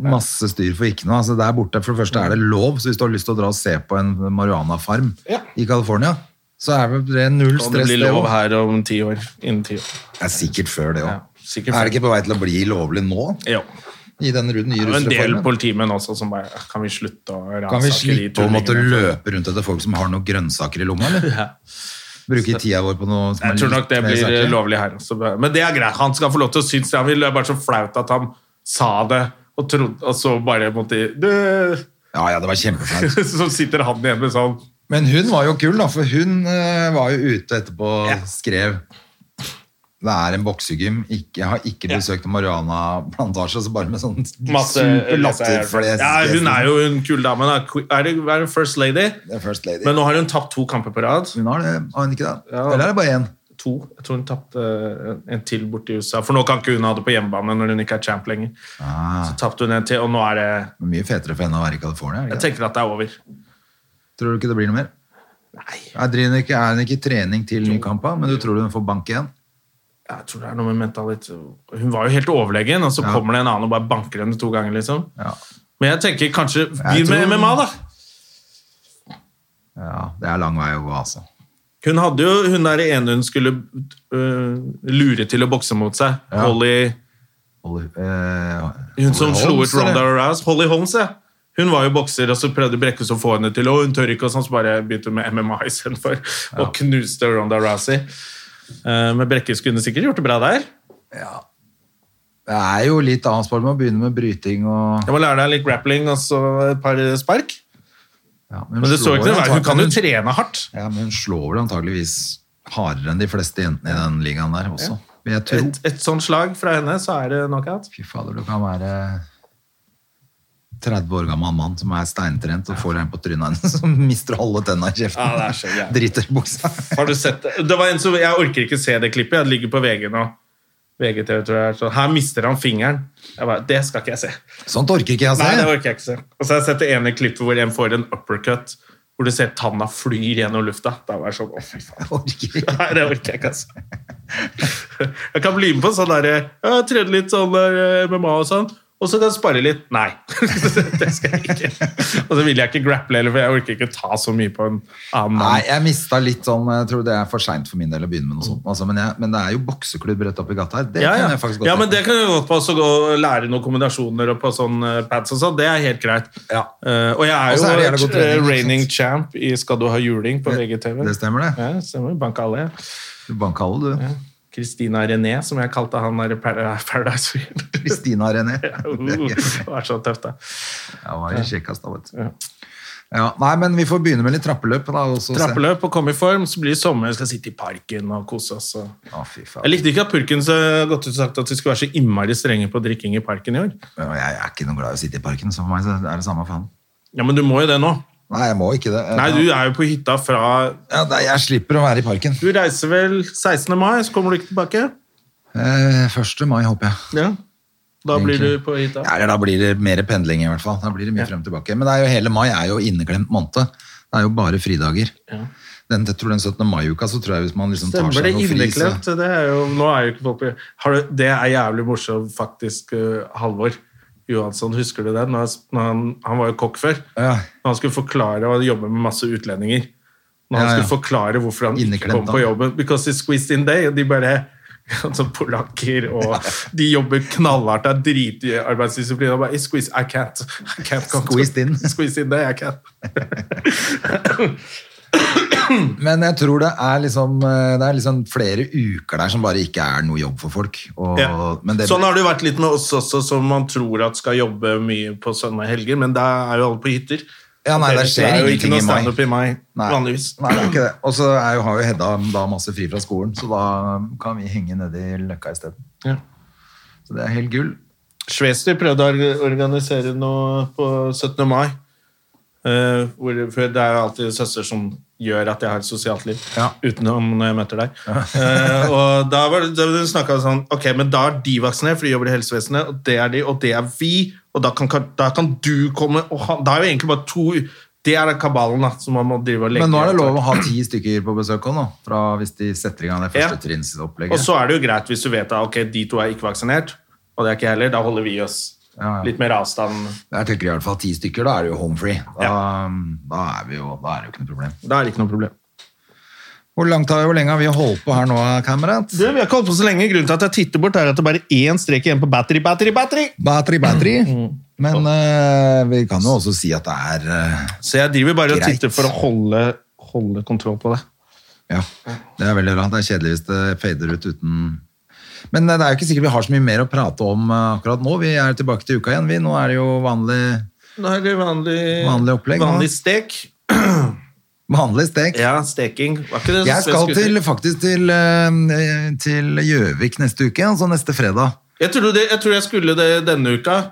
Speaker 2: Masse styr for ikke noe. Altså, der borte for det første er det lov, så hvis du har lyst til å dra og se på en marihuanafarm
Speaker 1: Ja.
Speaker 2: i California, så er vel det null
Speaker 1: Kan det
Speaker 2: stress.
Speaker 1: bli
Speaker 2: det
Speaker 1: lov
Speaker 2: også.
Speaker 1: her om ti år? Innen ti år.
Speaker 2: Det er sikkert før det
Speaker 1: Ja,
Speaker 2: òg.
Speaker 1: sikkert
Speaker 2: er
Speaker 1: før.
Speaker 2: det ikke på vei til å bli lovlig nå?
Speaker 1: Jo.
Speaker 2: I den ru- nye
Speaker 1: Det er en del
Speaker 2: rusreformen?
Speaker 1: politimenn også som bare Kan vi slutte å ransake
Speaker 2: Kan vi slippe å måtte
Speaker 1: tullingene?»
Speaker 2: løpe rundt etter folk som har noen grønnsaker i lomma, eller? Bruke tida vår på noe som
Speaker 1: Jeg tror nok det
Speaker 2: mer
Speaker 1: blir eh,
Speaker 2: saklig?
Speaker 1: lovlig her også. Men det er greit. Han skal få lov til å synes det. Han vil det er bare så flaut at han sa det, og, trodde, og så bare måtte du,
Speaker 2: Ja, ja, det var kjempeflaut.
Speaker 1: Så sitter han igjen med sånn
Speaker 2: Men hun var jo kul, da, for hun eh, var jo ute etterpå og skrev Det er en boksegym. Ikke, jeg har ikke
Speaker 1: Ja.
Speaker 2: besøkt en marihuana-plantasje, så bare med sånn
Speaker 1: masse
Speaker 2: super latterfles.
Speaker 1: Ja, Hun er jo en kul dame. Da. Qu- Er det, er det First Lady?
Speaker 2: The first lady.
Speaker 1: Men nå har hun tapt to kamper på rad.
Speaker 2: hun har det, har hun ikke det?
Speaker 1: Ja.
Speaker 2: Eller er det bare én?
Speaker 1: To. Jeg tror hun tapte eh, en til borte i USA. For nå kan ikke hun ha det på hjemmebane når hun ikke er champ lenger.
Speaker 2: Ah,
Speaker 1: Så tapte hun en til, og nå er det
Speaker 2: det er mye fetere for henne å være i California. er det
Speaker 1: Jeg
Speaker 2: Ikke? det?
Speaker 1: tenker at det er over.
Speaker 2: Tror du ikke det blir noe mer?
Speaker 1: Nei,
Speaker 2: Er, driver hun ikke, er hun ikke i trening til Nykampa, men du tror hun får bank igjen?
Speaker 1: jeg tror det er noe med mentalitet Hun var jo helt overlegen, og så
Speaker 2: Ja.
Speaker 1: kommer det en annen og bare banker henne to ganger, liksom.
Speaker 2: Ja.
Speaker 1: Men jeg tenker kanskje Begynn med
Speaker 2: tror-
Speaker 1: MMA, da!
Speaker 2: ja, det er lang vei å gå, altså.
Speaker 1: Hun hadde jo hun der ene hun skulle øh, lure til å bokse mot seg.
Speaker 2: Ja.
Speaker 1: Holly
Speaker 2: Holly- eh,
Speaker 1: Hun som
Speaker 2: Holly
Speaker 1: slo
Speaker 2: Holmes,
Speaker 1: ut Ronda
Speaker 2: eller?
Speaker 1: Rouse. Holly Holmes, ja. Hun var jo bokser, og så prøvde Brekkhus å få henne til, og hun tør ikke, og sånn, så bare begynte hun med MMA istedenfor. Og knuste Ronda Rousey. Eh, Men Brekkhus kunne sikkert gjort det bra der.
Speaker 2: Det er jo litt annet sport med å begynne med bryting og
Speaker 1: Jeg må lære deg litt grappling og så et par spark.
Speaker 2: Ja,
Speaker 1: Men det står
Speaker 2: slår
Speaker 1: ikke noe i veien. Hun kan jo
Speaker 2: antagelig-
Speaker 1: trene hardt.
Speaker 2: Ja, men hun slår vel antageligvis hardere enn de fleste jentene i den ligaen der også. Vil jeg tro.
Speaker 1: Et, et sånt slag fra henne, så er det knockout.
Speaker 2: Fy fader, du kan være 30 år gammel mann som er steintrent og får en på trynet hennes som mister alle tenna i kjeften.
Speaker 1: Ja, det er så jævlig.
Speaker 2: Driter i buksa.
Speaker 1: Har du sett det? det var en som, jeg orker ikke se det klippet. Jeg ligger på VG nå. VGTV, tror jeg. Så her mister han fingeren. Jeg bare, det skal ikke jeg se.
Speaker 2: Sånt Sånn orker ikke jeg å
Speaker 1: Nei, det
Speaker 2: se.
Speaker 1: orker jeg ikke se. Og så har jeg sett det ene klippet hvor en får en uppercut, hvor du ser tanna flyr gjennom lufta. Da var jeg sånn, å fy faen.
Speaker 2: Jeg orker ikke.
Speaker 1: Nei, det orker jeg ikke, altså. Jeg kan bli med på sånn derre ja, Trene litt sånn der eh, MMA og sånn. Og så kan jeg spare litt. Nei. det skal jeg ikke. Og så vil jeg ikke grapple heller, for jeg orker ikke ta så mye på en annen
Speaker 2: Nei,
Speaker 1: mann.
Speaker 2: jeg mista litt sånn Jeg tror det er for seint for min del å begynne med noe sånt. Altså, men, jeg, men det er jo bokseklubb rett oppi gata her. Det
Speaker 1: ja, ja.
Speaker 2: kan jeg faktisk godt
Speaker 1: ja, men
Speaker 2: tenke
Speaker 1: det kan jeg godt på også gå og lære noen kombinasjoner og på sånn eh, pads og sånn. Det er helt greit.
Speaker 2: Ja.
Speaker 1: Eh, og jeg
Speaker 2: Og så er
Speaker 1: er
Speaker 2: det
Speaker 1: jo
Speaker 2: jævla
Speaker 1: eh,
Speaker 2: god trening, ikke
Speaker 1: reigning
Speaker 2: sant?
Speaker 1: champ i Skal du ha juling på
Speaker 2: Det-
Speaker 1: VGTV.
Speaker 2: det stemmer det.
Speaker 1: Ja, det stemmer. Banka alle.
Speaker 2: meg. Du banka alle, du.
Speaker 1: Christina René, som jeg kalte han der i Par- Paradise Hotel.
Speaker 2: Kristina René.
Speaker 1: Uh, Det var så tøft, da.
Speaker 2: Jeg var i kjekkast da, vet du. Ja, nei, men vi får begynne med litt trappeløp. Da, og så se.
Speaker 1: Trappeløp og komme i form, så blir det sommer. Vi skal sitte i parken og kose oss. Og...
Speaker 2: Å, fy faen.
Speaker 1: Jeg likte ikke at purken så godt ut sagt at vi skulle være så innmari strenge på drikking i parken i år.
Speaker 2: Ja, Jeg er ikke noe glad i å sitte i parken, så for meg så er det samme faen.
Speaker 1: Ja, men du må jo det nå.
Speaker 2: Nei, jeg må ikke det.
Speaker 1: Nei, du er jo på hytta fra
Speaker 2: ja, nei, jeg slipper å være i parken.
Speaker 1: Du reiser vel 16. mai, så kommer du ikke tilbake?
Speaker 2: Eh, 1. mai, håper jeg.
Speaker 1: Ja. Da blir
Speaker 2: Egentlig.
Speaker 1: du på hytta.
Speaker 2: Ja, Eller da blir det mer pendling, i hvert fall. Da blir det mye frem og tilbake. Men det er jo, hele mai er jo inneklemt måned. Det er jo bare fridager. Den, jeg tror den 17. mai-uka, så tror jeg hvis man liksom tar
Speaker 1: Stemmer
Speaker 2: seg
Speaker 1: det
Speaker 2: noe fri, så
Speaker 1: inneklemt? Det er jo, nå er jo ikke folk på har du, Det er jævlig morsomt, faktisk, eh, Halvor Johansson. Husker du det? Når han, når han, han var jo kokk før.
Speaker 2: Ja.
Speaker 1: Når han skulle forklare og jobbe med masse utlendinger. Når han
Speaker 2: Ja, ja.
Speaker 1: skulle forklare hvorfor han ikke
Speaker 2: Inneklemt,
Speaker 1: kom på
Speaker 2: da.
Speaker 1: jobben. Because it's squeezed in day. Og de bare Altså polakker og De jobber knallhardt. Det er dritarbeidsdisiplin. Og bare I squeeze, I can't. I can't come to-
Speaker 2: Squeezed in.
Speaker 1: Squeezed in day, I can't.
Speaker 2: Men jeg tror det er liksom eh, Det er liksom flere uker der som bare ikke er noe jobb for folk. Og,
Speaker 1: Ja.
Speaker 2: men det,
Speaker 1: Sånn har det jo vært litt med oss også, som man tror at skal jobbe mye på sånne helger, men der er jo alle på hytter.
Speaker 2: Ja, nei, det
Speaker 1: Ellers
Speaker 2: skjer
Speaker 1: er jo ikke
Speaker 2: ingenting
Speaker 1: noe
Speaker 2: i mai.
Speaker 1: standup i mai,
Speaker 2: Nei.
Speaker 1: vanligvis.
Speaker 2: Nei, det er ikke det. Og så er jo- har jo Hedda da masse fri fra skolen, så da kan vi henge nedi løkka isteden.
Speaker 1: Ja.
Speaker 2: Så det er helt gull.
Speaker 1: Schwester prøvde å orga- organisere noe på 17. mai. eh, hvor, for det er jo alltid søster som gjør at jeg har et sosialt liv,
Speaker 2: Ja.
Speaker 1: utenom når jeg møter deg. Eh, og da var det, da snakka vi sånn Ok, men da er de vaksinert, for de jobber i helsevesenet, og det er de, og det er vi, og da kan, da kan du komme og han, Da er jo egentlig bare to Det er den kabalen da, som man må drive og legge
Speaker 2: Men nå er det
Speaker 1: i.
Speaker 2: lov å ha ti stykker på besøk også nå, fra hvis de setter i gang det
Speaker 1: Ja.
Speaker 2: første trinnsopplegget.
Speaker 1: Og så er det jo greit hvis du vet at ok, de to er ikke vaksinert, og det er ikke jeg heller, da holder vi oss Litt mer avstand.
Speaker 2: Jeg tenker i hvert fall ti stykker, da er det jo home free. Da, da, er, vi jo, da er det jo ikke noe problem.
Speaker 1: Da er det ikke noe problem.
Speaker 2: Hvor langt har, hvor lenge har vi holdt på her nå, kamerat?
Speaker 1: Du, vi har ikke holdt på så lenge. Grunnen til at jeg titter bort, er at det bare er én strek igjen på battery, battery, battery.
Speaker 2: Battery, battery. Men eh, vi kan jo også si at det er eh,
Speaker 1: Så jeg driver bare og
Speaker 2: Greit.
Speaker 1: titter for å holde, holde kontroll på det.
Speaker 2: Ja, det er veldig bra. Det er kjedelig hvis det fader ut uten Men eh, det er jo ikke sikkert vi har så mye mer å prate om eh, akkurat nå. Vi er tilbake til uka igjen, vi. Nå er det jo vanlig,
Speaker 1: Da er det vanlig,
Speaker 2: Vanlig opplegg, da.
Speaker 1: Vanlig stek.
Speaker 2: vanlig stek.
Speaker 1: Ja, steking. Var ikke det
Speaker 2: Jeg skal
Speaker 1: svensk uttrykk?
Speaker 2: til, faktisk til eh, til Gjøvik neste uke, altså neste fredag.
Speaker 1: Jeg tror, det, jeg tror jeg skulle det denne uka.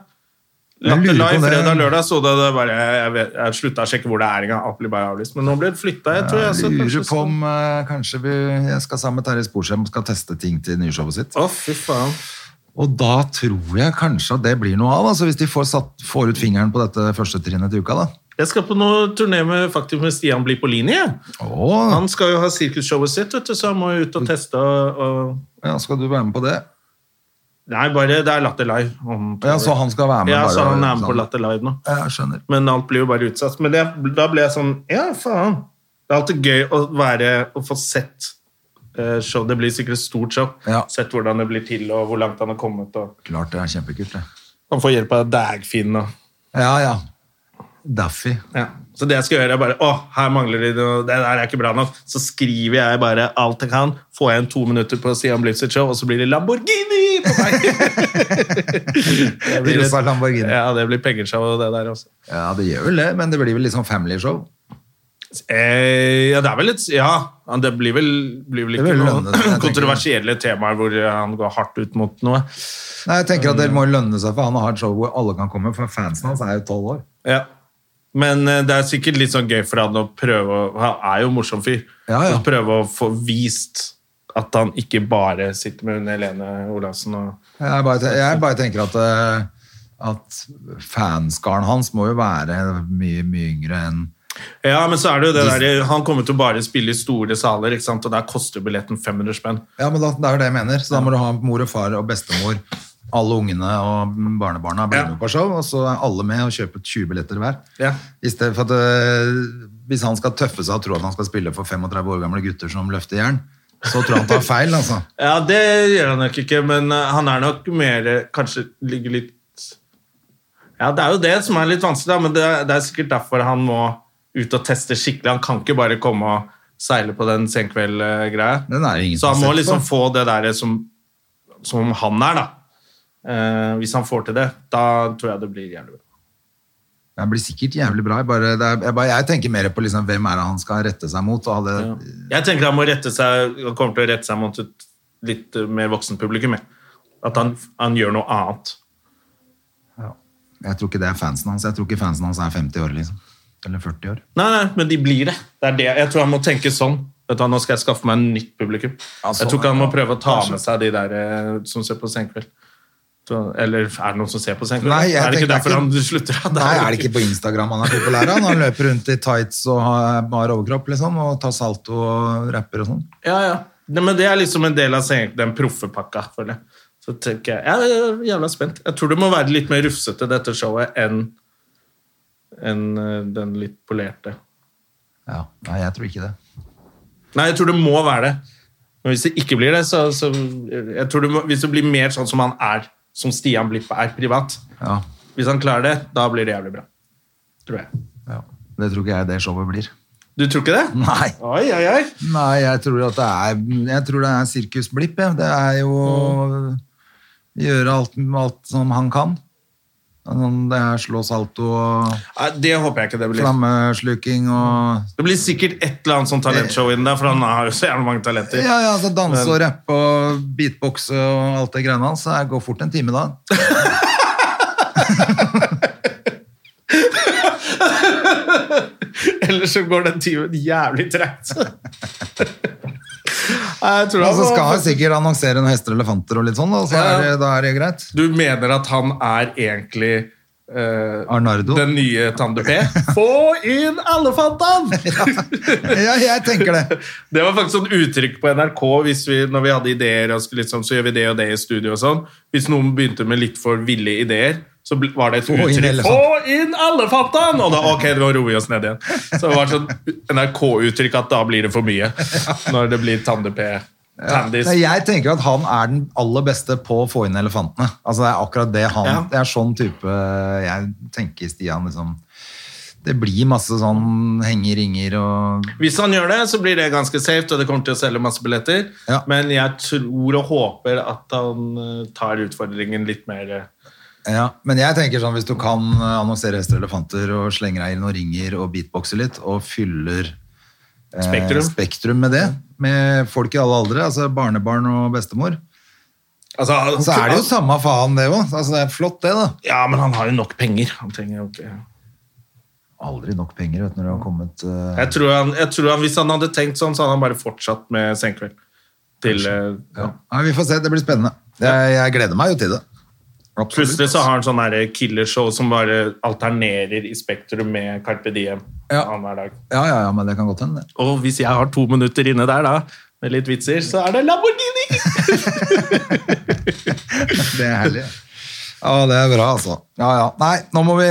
Speaker 2: Jeg
Speaker 1: Latter
Speaker 2: lurer på
Speaker 1: Live
Speaker 2: det.
Speaker 1: fredag lørdag, så det, det bare, jeg, vet- jeg slutta å sjekke hvor det er engang. Apple bare avlyst. Men nå ble det flytta. Jeg tror jeg, så
Speaker 2: Jeg lurer
Speaker 1: kanskje
Speaker 2: på
Speaker 1: skal-
Speaker 2: om eh, kanskje vi, jeg skal sammen med Terje Sporsem skal teste ting til nyshowet sitt.
Speaker 1: Å, fy faen.
Speaker 2: Og da tror jeg kanskje at det blir noe av, altså hvis de får, satt, får ut fingeren på dette første trinnet til uka, da.
Speaker 1: Jeg skal på noe turné med, faktisk med Stian Blipolini. jeg.
Speaker 2: Åh,
Speaker 1: Han skal jo ha sirkusshowet sitt, vet du, så han må jo ut og teste og, og
Speaker 2: ja, skal du være med på det?
Speaker 1: Nei, bare det er Latter Live. om to
Speaker 2: Ja,
Speaker 1: år.
Speaker 2: så han skal være med?
Speaker 1: Ja,
Speaker 2: bare- sånn.
Speaker 1: så han er med på Latter Live nå.
Speaker 2: Ja, Jeg skjønner.
Speaker 1: Men alt blir jo bare utsatt. Men det, da ble jeg sånn Ja, faen. Det er alltid gøy å være Å få sett eh, show. Det blir sikkert et stort show.
Speaker 2: Ja.
Speaker 1: Sett hvordan det blir til, og hvor langt han har kommet. Og
Speaker 2: Klart det er kjempekult, det.
Speaker 1: han får hjelp av Dagfinn og
Speaker 2: Ja, ja. Daffy.
Speaker 1: ja. Så det jeg skal gjøre, er bare Å, her mangler det noe. Det der er ikke bra nok. Så skriver jeg bare alt jeg kan. Får jeg en to minutter på Sian Blips sitt show, og så blir det Lamborghini på meg! Det blir
Speaker 2: Rosa
Speaker 1: et-
Speaker 2: Lamborghini.
Speaker 1: Ja, det blir pengeshow, det der også.
Speaker 2: Ja, det gjør vel det, men det blir vel litt sånn family show.
Speaker 1: Eh, ja, det er vel et Ja, men det blir vel, blir vel
Speaker 2: Det
Speaker 1: ikke
Speaker 2: vil lønne seg,
Speaker 1: noen
Speaker 2: jeg tenker.
Speaker 1: kontroversielle temaer hvor han går hardt ut mot noe.
Speaker 2: Nei, jeg tenker at det må lønne seg, for han har et show hvor alle kan komme, for fansen hans er jo 12 år.
Speaker 1: Ja. Men eh, det er sikkert litt sånn gøy for han å prøve å Han er jo en morsom fyr.
Speaker 2: Ja, ja.
Speaker 1: Å prøve å få vist at han ikke bare sitter med hun Helene Olavsen og
Speaker 2: Jeg bare, te- jeg bare tenker at, eh, at fanskaren hans må jo være mye, mye yngre enn
Speaker 1: Ja, men så er det jo det der Han kommer til å bare spille i store saler, ikke sant? og der koster billetten 500 spenn.
Speaker 2: Ja, men da, det er jo det jeg mener. Så da må du ha mor og far og bestemor, alle ungene og barnebarna blir
Speaker 1: Ja.
Speaker 2: med på show, og så er alle med og kjøper 20 billetter hver.
Speaker 1: Ja.
Speaker 2: I stedet for at øh, hvis han skal tøffe seg og tro at han skal spille for 35 år gamle gutter som løfter jern, så tror jeg han tar feil, altså.
Speaker 1: Ja, det gjør han nok ikke, men eh, han er nok mer eh, Kanskje ligger litt Ja, det er jo det som er litt vanskelig, da, men det, er- det er sikkert derfor han må ut og teste skikkelig. Han kan ikke bare komme og seile på den senkveld-greia.
Speaker 2: Den er det ingen
Speaker 1: Så han
Speaker 2: som
Speaker 1: må
Speaker 2: har sett
Speaker 1: liksom
Speaker 2: på.
Speaker 1: få det der som, som han er, da. Eh, hvis han får til det, da tror jeg det blir jævlig bra.
Speaker 2: Det blir sikkert jævlig bra. jeg Bare, det er, jeg, bare, jeg tenker mer på liksom, hvem er det han skal rette seg mot. Og alle,
Speaker 1: Jeg tenker han må rette seg Han kommer til å rette seg mot et litt eh, mer voksen publikum. jeg. At han, han gjør noe annet.
Speaker 2: Jeg tror ikke det er fansen hans. Jeg tror ikke fansen hans er 50 år, liksom. Eller 40 år.
Speaker 1: Nei, nei, men de blir det. det, er det. Jeg tror han må tenke sånn. Vet du, hva, nå skal jeg skaffe meg en nytt publikum.
Speaker 2: Ja, sånn
Speaker 1: jeg tror ikke han
Speaker 2: er
Speaker 1: må
Speaker 2: det.
Speaker 1: prøve å ta
Speaker 2: Kanskje.
Speaker 1: med seg de der eh, som ser på Senkveld. Så- Eller er det noen som ser på Senkveld?
Speaker 2: Nei, jeg
Speaker 1: er det ikke
Speaker 2: tenker
Speaker 1: derfor
Speaker 2: ikke-
Speaker 1: han slutter? Ja,
Speaker 2: Nei, er det ikke på Instagram han er populær? Han Han løper rundt i tights og har bar overkropp liksom, og tar salto og rapper og sånn.
Speaker 1: Ja, ja. Nei, men det er liksom en del av Senkveld, den proffepakka, føler jeg. Så tenker jeg, jeg er jævla spent. Jeg tror det må være litt mer rufsete, dette showet, enn enn, eh, den litt polerte.
Speaker 2: Ja, nei, jeg tror ikke det.
Speaker 1: Nei, jeg tror det må være det. Men hvis det ikke blir det, så, så jeg tror det må, Hvis det blir mer sånn som han er, som Stian Blipp er privat
Speaker 2: Ja,
Speaker 1: Hvis han klarer det, da blir det jævlig bra. Tror jeg.
Speaker 2: ja. Det tror ikke jeg det showet blir.
Speaker 1: Du tror ikke det?
Speaker 2: Nei,
Speaker 1: Oi, oi, oi.
Speaker 2: nei jeg, tror at det er, jeg tror det er Sirkus Blipp. jeg. Det er jo å gjøre alt, alt som han kan. Sånn, Det er slå salto og
Speaker 1: Nei, det håper jeg ikke det blir.
Speaker 2: flammesluking og
Speaker 1: Det blir sikkert et eller annet sånn talentshow innen der, for han har jo så jævlig mange talenter.
Speaker 2: Ja, ja, altså danse og rappe og beatboxe og alt det greiene hans. Det går fort en time da.
Speaker 1: Ellers så går den timen jævlig tregt. Nei, jeg tror han
Speaker 2: Og så Altså, skal
Speaker 1: må-
Speaker 2: han sikkert annonsere noen hester og elefanter og litt sånn, da, så
Speaker 1: altså- Ja, ja.
Speaker 2: er det, da er det greit.
Speaker 1: Du mener at han er egentlig eh,
Speaker 2: Arnardo.
Speaker 1: den nye Tande P? Få inn elefantene!
Speaker 2: Ja, jeg tenker det.
Speaker 1: Det var faktisk sånn uttrykk på NRK hvis vi, når vi hadde ideer. og skulle Liksom, så gjør vi det og det i studio og sånn. Hvis noen begynte med litt for ville ideer, så ble- var det et
Speaker 2: inn
Speaker 1: uttrykk
Speaker 2: elefanten.
Speaker 1: Få inn elefantene! Og da ok, nå roer vi oss ned igjen. Så det var sånn NRK-uttrykk at da blir det for mye. Når det blir Tande-P. Tandis.
Speaker 2: Nei, jeg tenker at han er den aller beste på å få inn elefantene. Altså, det er akkurat det han
Speaker 1: Ja.
Speaker 2: Det er sånn type Jeg tenker Stian liksom Det blir masse sånn henge i ringer og
Speaker 1: Hvis han gjør det, så blir det ganske safe, og det kommer til å selge masse billetter.
Speaker 2: Ja.
Speaker 1: Men jeg tror og håper at han eh, tar utfordringen litt mer eh.
Speaker 2: ja. Men jeg tenker sånn hvis du kan annonsere hester og elefanter og slenger deg inn og ringer og beatboxer litt og fyller eh,
Speaker 1: Spektrum.
Speaker 2: spektrum med det, med folk i alle aldre, altså barnebarn og bestemor,
Speaker 1: altså, han-
Speaker 2: så er det jo samme faen, det òg. Altså, det er flott, det, da.
Speaker 1: Ja, men han har jo nok penger. Han trenger jo ikke
Speaker 2: Aldri nok penger vet, du, når det har kommet eh,
Speaker 1: jeg tror, han, jeg tror han, Hvis han hadde tenkt sånn, så hadde han bare fortsatt med Senkveld. Til, eh,
Speaker 2: Ja. Nei, vi får se, det blir spennende. Jeg, jeg gleder meg jo til det. Absolutt.
Speaker 1: Plutselig så har han sånn der killershow som bare alternerer i Spektrum med Carpe Diem.
Speaker 2: Ja.
Speaker 1: annenhver dag.
Speaker 2: Ja, ja, ja, men det kan godt hende. det.
Speaker 1: Og hvis jeg har to minutter inne der, da, med litt vitser, så er det Lamborghini!
Speaker 2: Det er herlig. Ja, det er bra, altså. Ja, ja. Nei, nå må vi,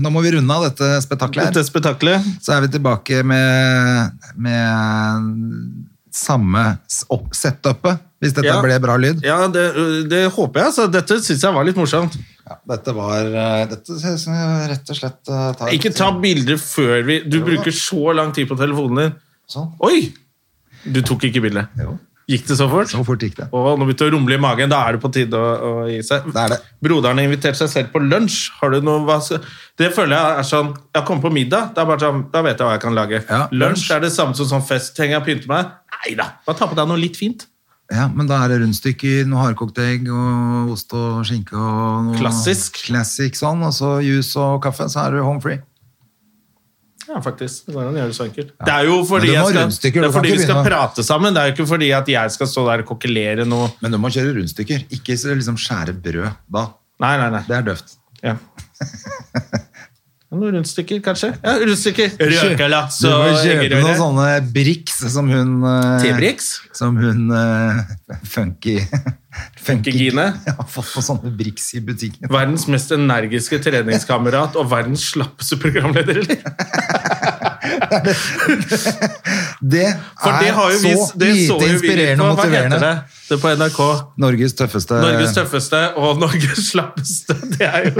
Speaker 2: nå må vi runde av dette spetakkelet
Speaker 1: Dette
Speaker 2: her.
Speaker 1: spetakkelet.
Speaker 2: Så er vi tilbake med, med samme s- opp- setupet, hvis dette
Speaker 1: Ja.
Speaker 2: ble bra lyd.
Speaker 1: Ja, det, det håper jeg. Så dette syns jeg var litt morsomt.
Speaker 2: Ja, dette var eh, Dette ser ut som jeg rett og slett eh, tar
Speaker 1: Ikke ta bilder før vi Du bruker så lang tid på telefonen din.
Speaker 2: Sånn.
Speaker 1: Oi! Du tok ikke bilde.
Speaker 2: Jo.
Speaker 1: Gikk det så fort?
Speaker 2: Så fort gikk det.
Speaker 1: Å, nå begynte det å rumle i magen. Da er det på tide å, å gi seg.
Speaker 2: Det er det.
Speaker 1: Broderen har invitert seg selv på lunsj. Har du noe, hva, skal- det føler jeg er sånn Jeg kommer på middag, det er bare sånn, da vet jeg hva jeg kan lage.
Speaker 2: Ja,
Speaker 1: lunsj
Speaker 2: lunsj.
Speaker 1: er det samme som sånn fest. Trenger jeg å pynte meg? Nei da, bare ta på deg noe litt fint.
Speaker 2: Ja, men da er det rundstykker, noe hardkokt egg og ost og skinke og noe
Speaker 1: Klassisk.
Speaker 2: Klassisk sånn, og så juice og kaffe, så er du home free.
Speaker 1: Ja, faktisk. Det går
Speaker 2: sånn
Speaker 1: an å gjøre det så enkelt. Det er jo fordi,
Speaker 2: Men du må
Speaker 1: jeg
Speaker 2: ha
Speaker 1: skal,
Speaker 2: rundstykker,
Speaker 1: det
Speaker 2: du
Speaker 1: er
Speaker 2: kan
Speaker 1: fordi
Speaker 2: ikke
Speaker 1: vi skal
Speaker 2: begynne å-
Speaker 1: prate sammen. Det er jo ikke fordi at jeg skal stå der og kokkelere noe.
Speaker 2: Men du må kjøre rundstykker, ikke så liksom skjære brød da.
Speaker 1: Nei, nei, nei.
Speaker 2: Det er døvt.
Speaker 1: Ja. Noen rundstykker, kanskje? Ja, rundstykker.
Speaker 2: Du
Speaker 1: Røkelaks
Speaker 2: må
Speaker 1: og
Speaker 2: kjøpe noen
Speaker 1: eggerøre.
Speaker 2: sånne briks som hun eh,
Speaker 1: T-briks?
Speaker 2: Som hun eh, funky
Speaker 1: Gine?
Speaker 2: Jeg har fått på sånne briks i butikken.
Speaker 1: Verdens mest energiske treningskamerat og verdens slappeste programleder. eller?
Speaker 2: Det er
Speaker 1: For det har jo
Speaker 2: så
Speaker 1: vist, det
Speaker 2: lite
Speaker 1: så jo vi
Speaker 2: inspirerende
Speaker 1: på,
Speaker 2: og
Speaker 1: hva heter
Speaker 2: motiverende.
Speaker 1: det? Det er på NRK.
Speaker 2: Norges tøffeste
Speaker 1: Norges tøffeste og Norges slappeste. Det er jo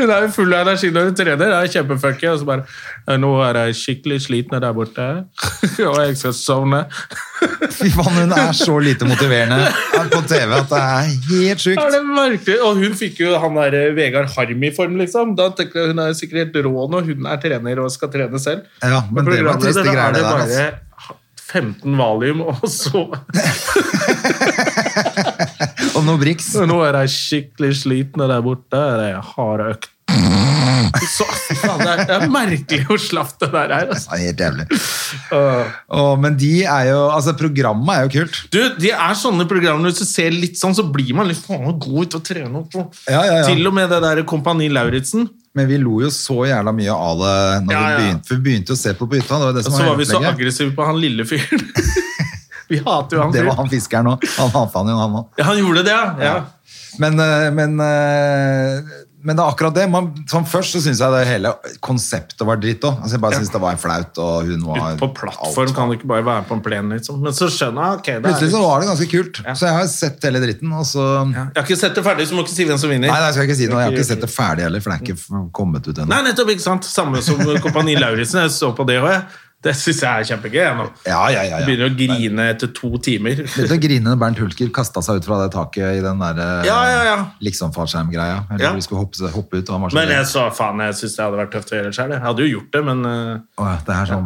Speaker 1: Hun er jo full av energi når hun trener. Det er kjempefunky. Og så bare «Ja, Nå er jeg skikkelig sliten der borte, og jeg skal sovne.
Speaker 2: Fy faen, hun er så lite motiverende her på TV at det er helt
Speaker 1: Er
Speaker 2: sjukt.
Speaker 1: det merkelig? Og hun fikk jo han der eh, Vegard Harm i form, liksom. Da tenker jeg Hun er sikkert helt rå når hun er trener og skal trene selv.
Speaker 2: Ja, men
Speaker 1: Og
Speaker 2: det var
Speaker 1: programleder,
Speaker 2: triste
Speaker 1: da er
Speaker 2: greier, det der,
Speaker 1: bare 15 valium, og så
Speaker 2: Og noe briks.
Speaker 1: Nå er jeg skikkelig sliten der borte. Det er hard økt. Så, faen, det, er, det er merkelig hvor slapt det der er. Altså.
Speaker 2: Ja, helt jævlig. Å, men de er jo Altså, programmet er jo kult.
Speaker 1: Du, De er sånne programmer hvis du ser litt sånn, så blir man litt faen god ut og trene opp.
Speaker 2: Ja, ja, ja.
Speaker 1: Til og med det der Kompani Lauritzen.
Speaker 2: Men vi lo jo så jævla mye av det når
Speaker 1: Ja, ja.
Speaker 2: vi begynte. For vi begynte jo å se på på hytta. Det var Sånn det
Speaker 1: Og
Speaker 2: som
Speaker 1: så
Speaker 2: var
Speaker 1: var vi så
Speaker 2: hele opplegget.
Speaker 1: aggressive på han lille fyren. vi hater jo han
Speaker 2: Det var
Speaker 1: fyren.
Speaker 2: han fiskeren òg. Han hata han jo, han òg.
Speaker 1: Ja, han gjorde det, ja. ja.
Speaker 2: Men, eh, men, eh, men det er akkurat det. Man, sånn først så syns jeg det hele konseptet var dritt òg. Altså, jeg bare syns det var flaut, og hun var
Speaker 1: Ute på
Speaker 2: alt
Speaker 1: plattform kan du ikke bare være på en plen, liksom. Men så skjønner jeg ok, det er
Speaker 2: Plutselig så
Speaker 1: litt-
Speaker 2: var det ganske kult. Så jeg har sett hele dritten, og så
Speaker 1: Jeg har ikke sett det ferdig, så må jeg ikke si hvem som vinner.
Speaker 2: Nei, nei, skal jeg ikke si noe. Jeg har ikke sett det ferdig heller, for det er ikke f- kommet ut ennå.
Speaker 1: Nei, nettopp, ikke sant? Samme som Kompani Lauritzen. Jeg så på det òg, jeg. Det syns jeg er kjempegøy. Jeg nå.
Speaker 2: Ja, ja, ja. ja.
Speaker 1: Begynner å grine etter to timer.
Speaker 2: Begynte å grine når Bernt Hulker kasta seg ut fra det taket i den der eh,
Speaker 1: Ja, ja, ja.
Speaker 2: liksom-fallskjermgreia. Eller
Speaker 1: Ja.
Speaker 2: hvor de skulle hoppe, hoppe ut. Og han var så
Speaker 1: Men
Speaker 2: redd.
Speaker 1: jeg sa faen, jeg syns det hadde vært tøft å gjøre det sjøl. Jeg hadde jo gjort det, men eh,
Speaker 2: Åh, det er
Speaker 1: jeg
Speaker 2: sånn,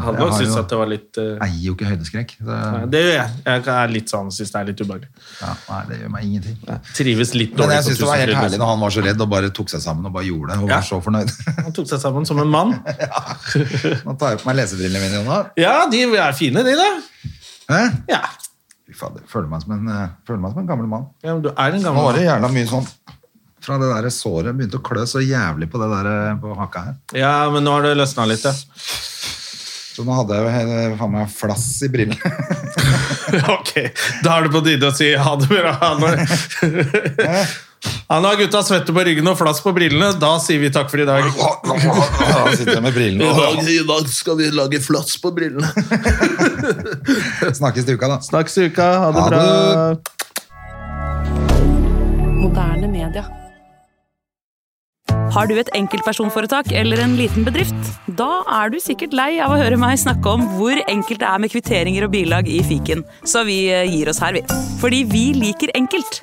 Speaker 1: hadde nok
Speaker 2: jeg har
Speaker 1: syntes
Speaker 2: jo,
Speaker 1: at det var litt eh,
Speaker 2: eier jo ikke høydeskrekk. Det,
Speaker 1: nei, Det gjør jeg. Jeg er litt sånn, syns det er litt ubehagelig.
Speaker 2: ja, nei, det gjør meg ingenting.
Speaker 1: Trives litt
Speaker 2: Men
Speaker 1: dårlig.
Speaker 2: jeg
Speaker 1: på
Speaker 2: syns det var helt
Speaker 1: 1000
Speaker 2: herlig når han var så redd og bare tok seg sammen og bare gjorde det. Og
Speaker 1: Ja.
Speaker 2: var så fornøyd.
Speaker 1: Han tok seg sammen som en mann.
Speaker 2: Nå tar jeg på meg lesebrillene mine igjen nå.
Speaker 1: Ja, de er fine, de, da.
Speaker 2: Hæ?
Speaker 1: Ja.
Speaker 2: Fy fader, føler meg som en, eh, føler meg som en gammel mann.
Speaker 1: ja men du er en
Speaker 2: Nå
Speaker 1: gammel
Speaker 2: var det
Speaker 1: mann.
Speaker 2: jævla mye sånn fra det der såret begynte å klø så jævlig på det der eh, på haka her.
Speaker 1: Ja, men nå har det løsna litt, ja.
Speaker 2: Så nå hadde jeg jo hele- faen meg flass i brillene.
Speaker 1: Ok, da er det på tide å si ha det bra. Når... Han har gutta svette på ryggen og flass på brillene. Da sier vi takk for i dag.
Speaker 2: Da sitter jeg med brillene.
Speaker 1: skal vi lage flass på brillene.
Speaker 2: Snakkes til uka, da.
Speaker 1: Snakkes i uka. Ha det
Speaker 2: Ha
Speaker 1: bra.
Speaker 2: det.
Speaker 3: Moderne media.
Speaker 4: Har du et enkeltpersonforetak eller en liten bedrift? Da er du sikkert lei av å høre meg snakke om hvor enkelt det er med kvitteringer og bilag i fiken, så vi eh, gir oss her, vi. Fordi vi liker enkelt.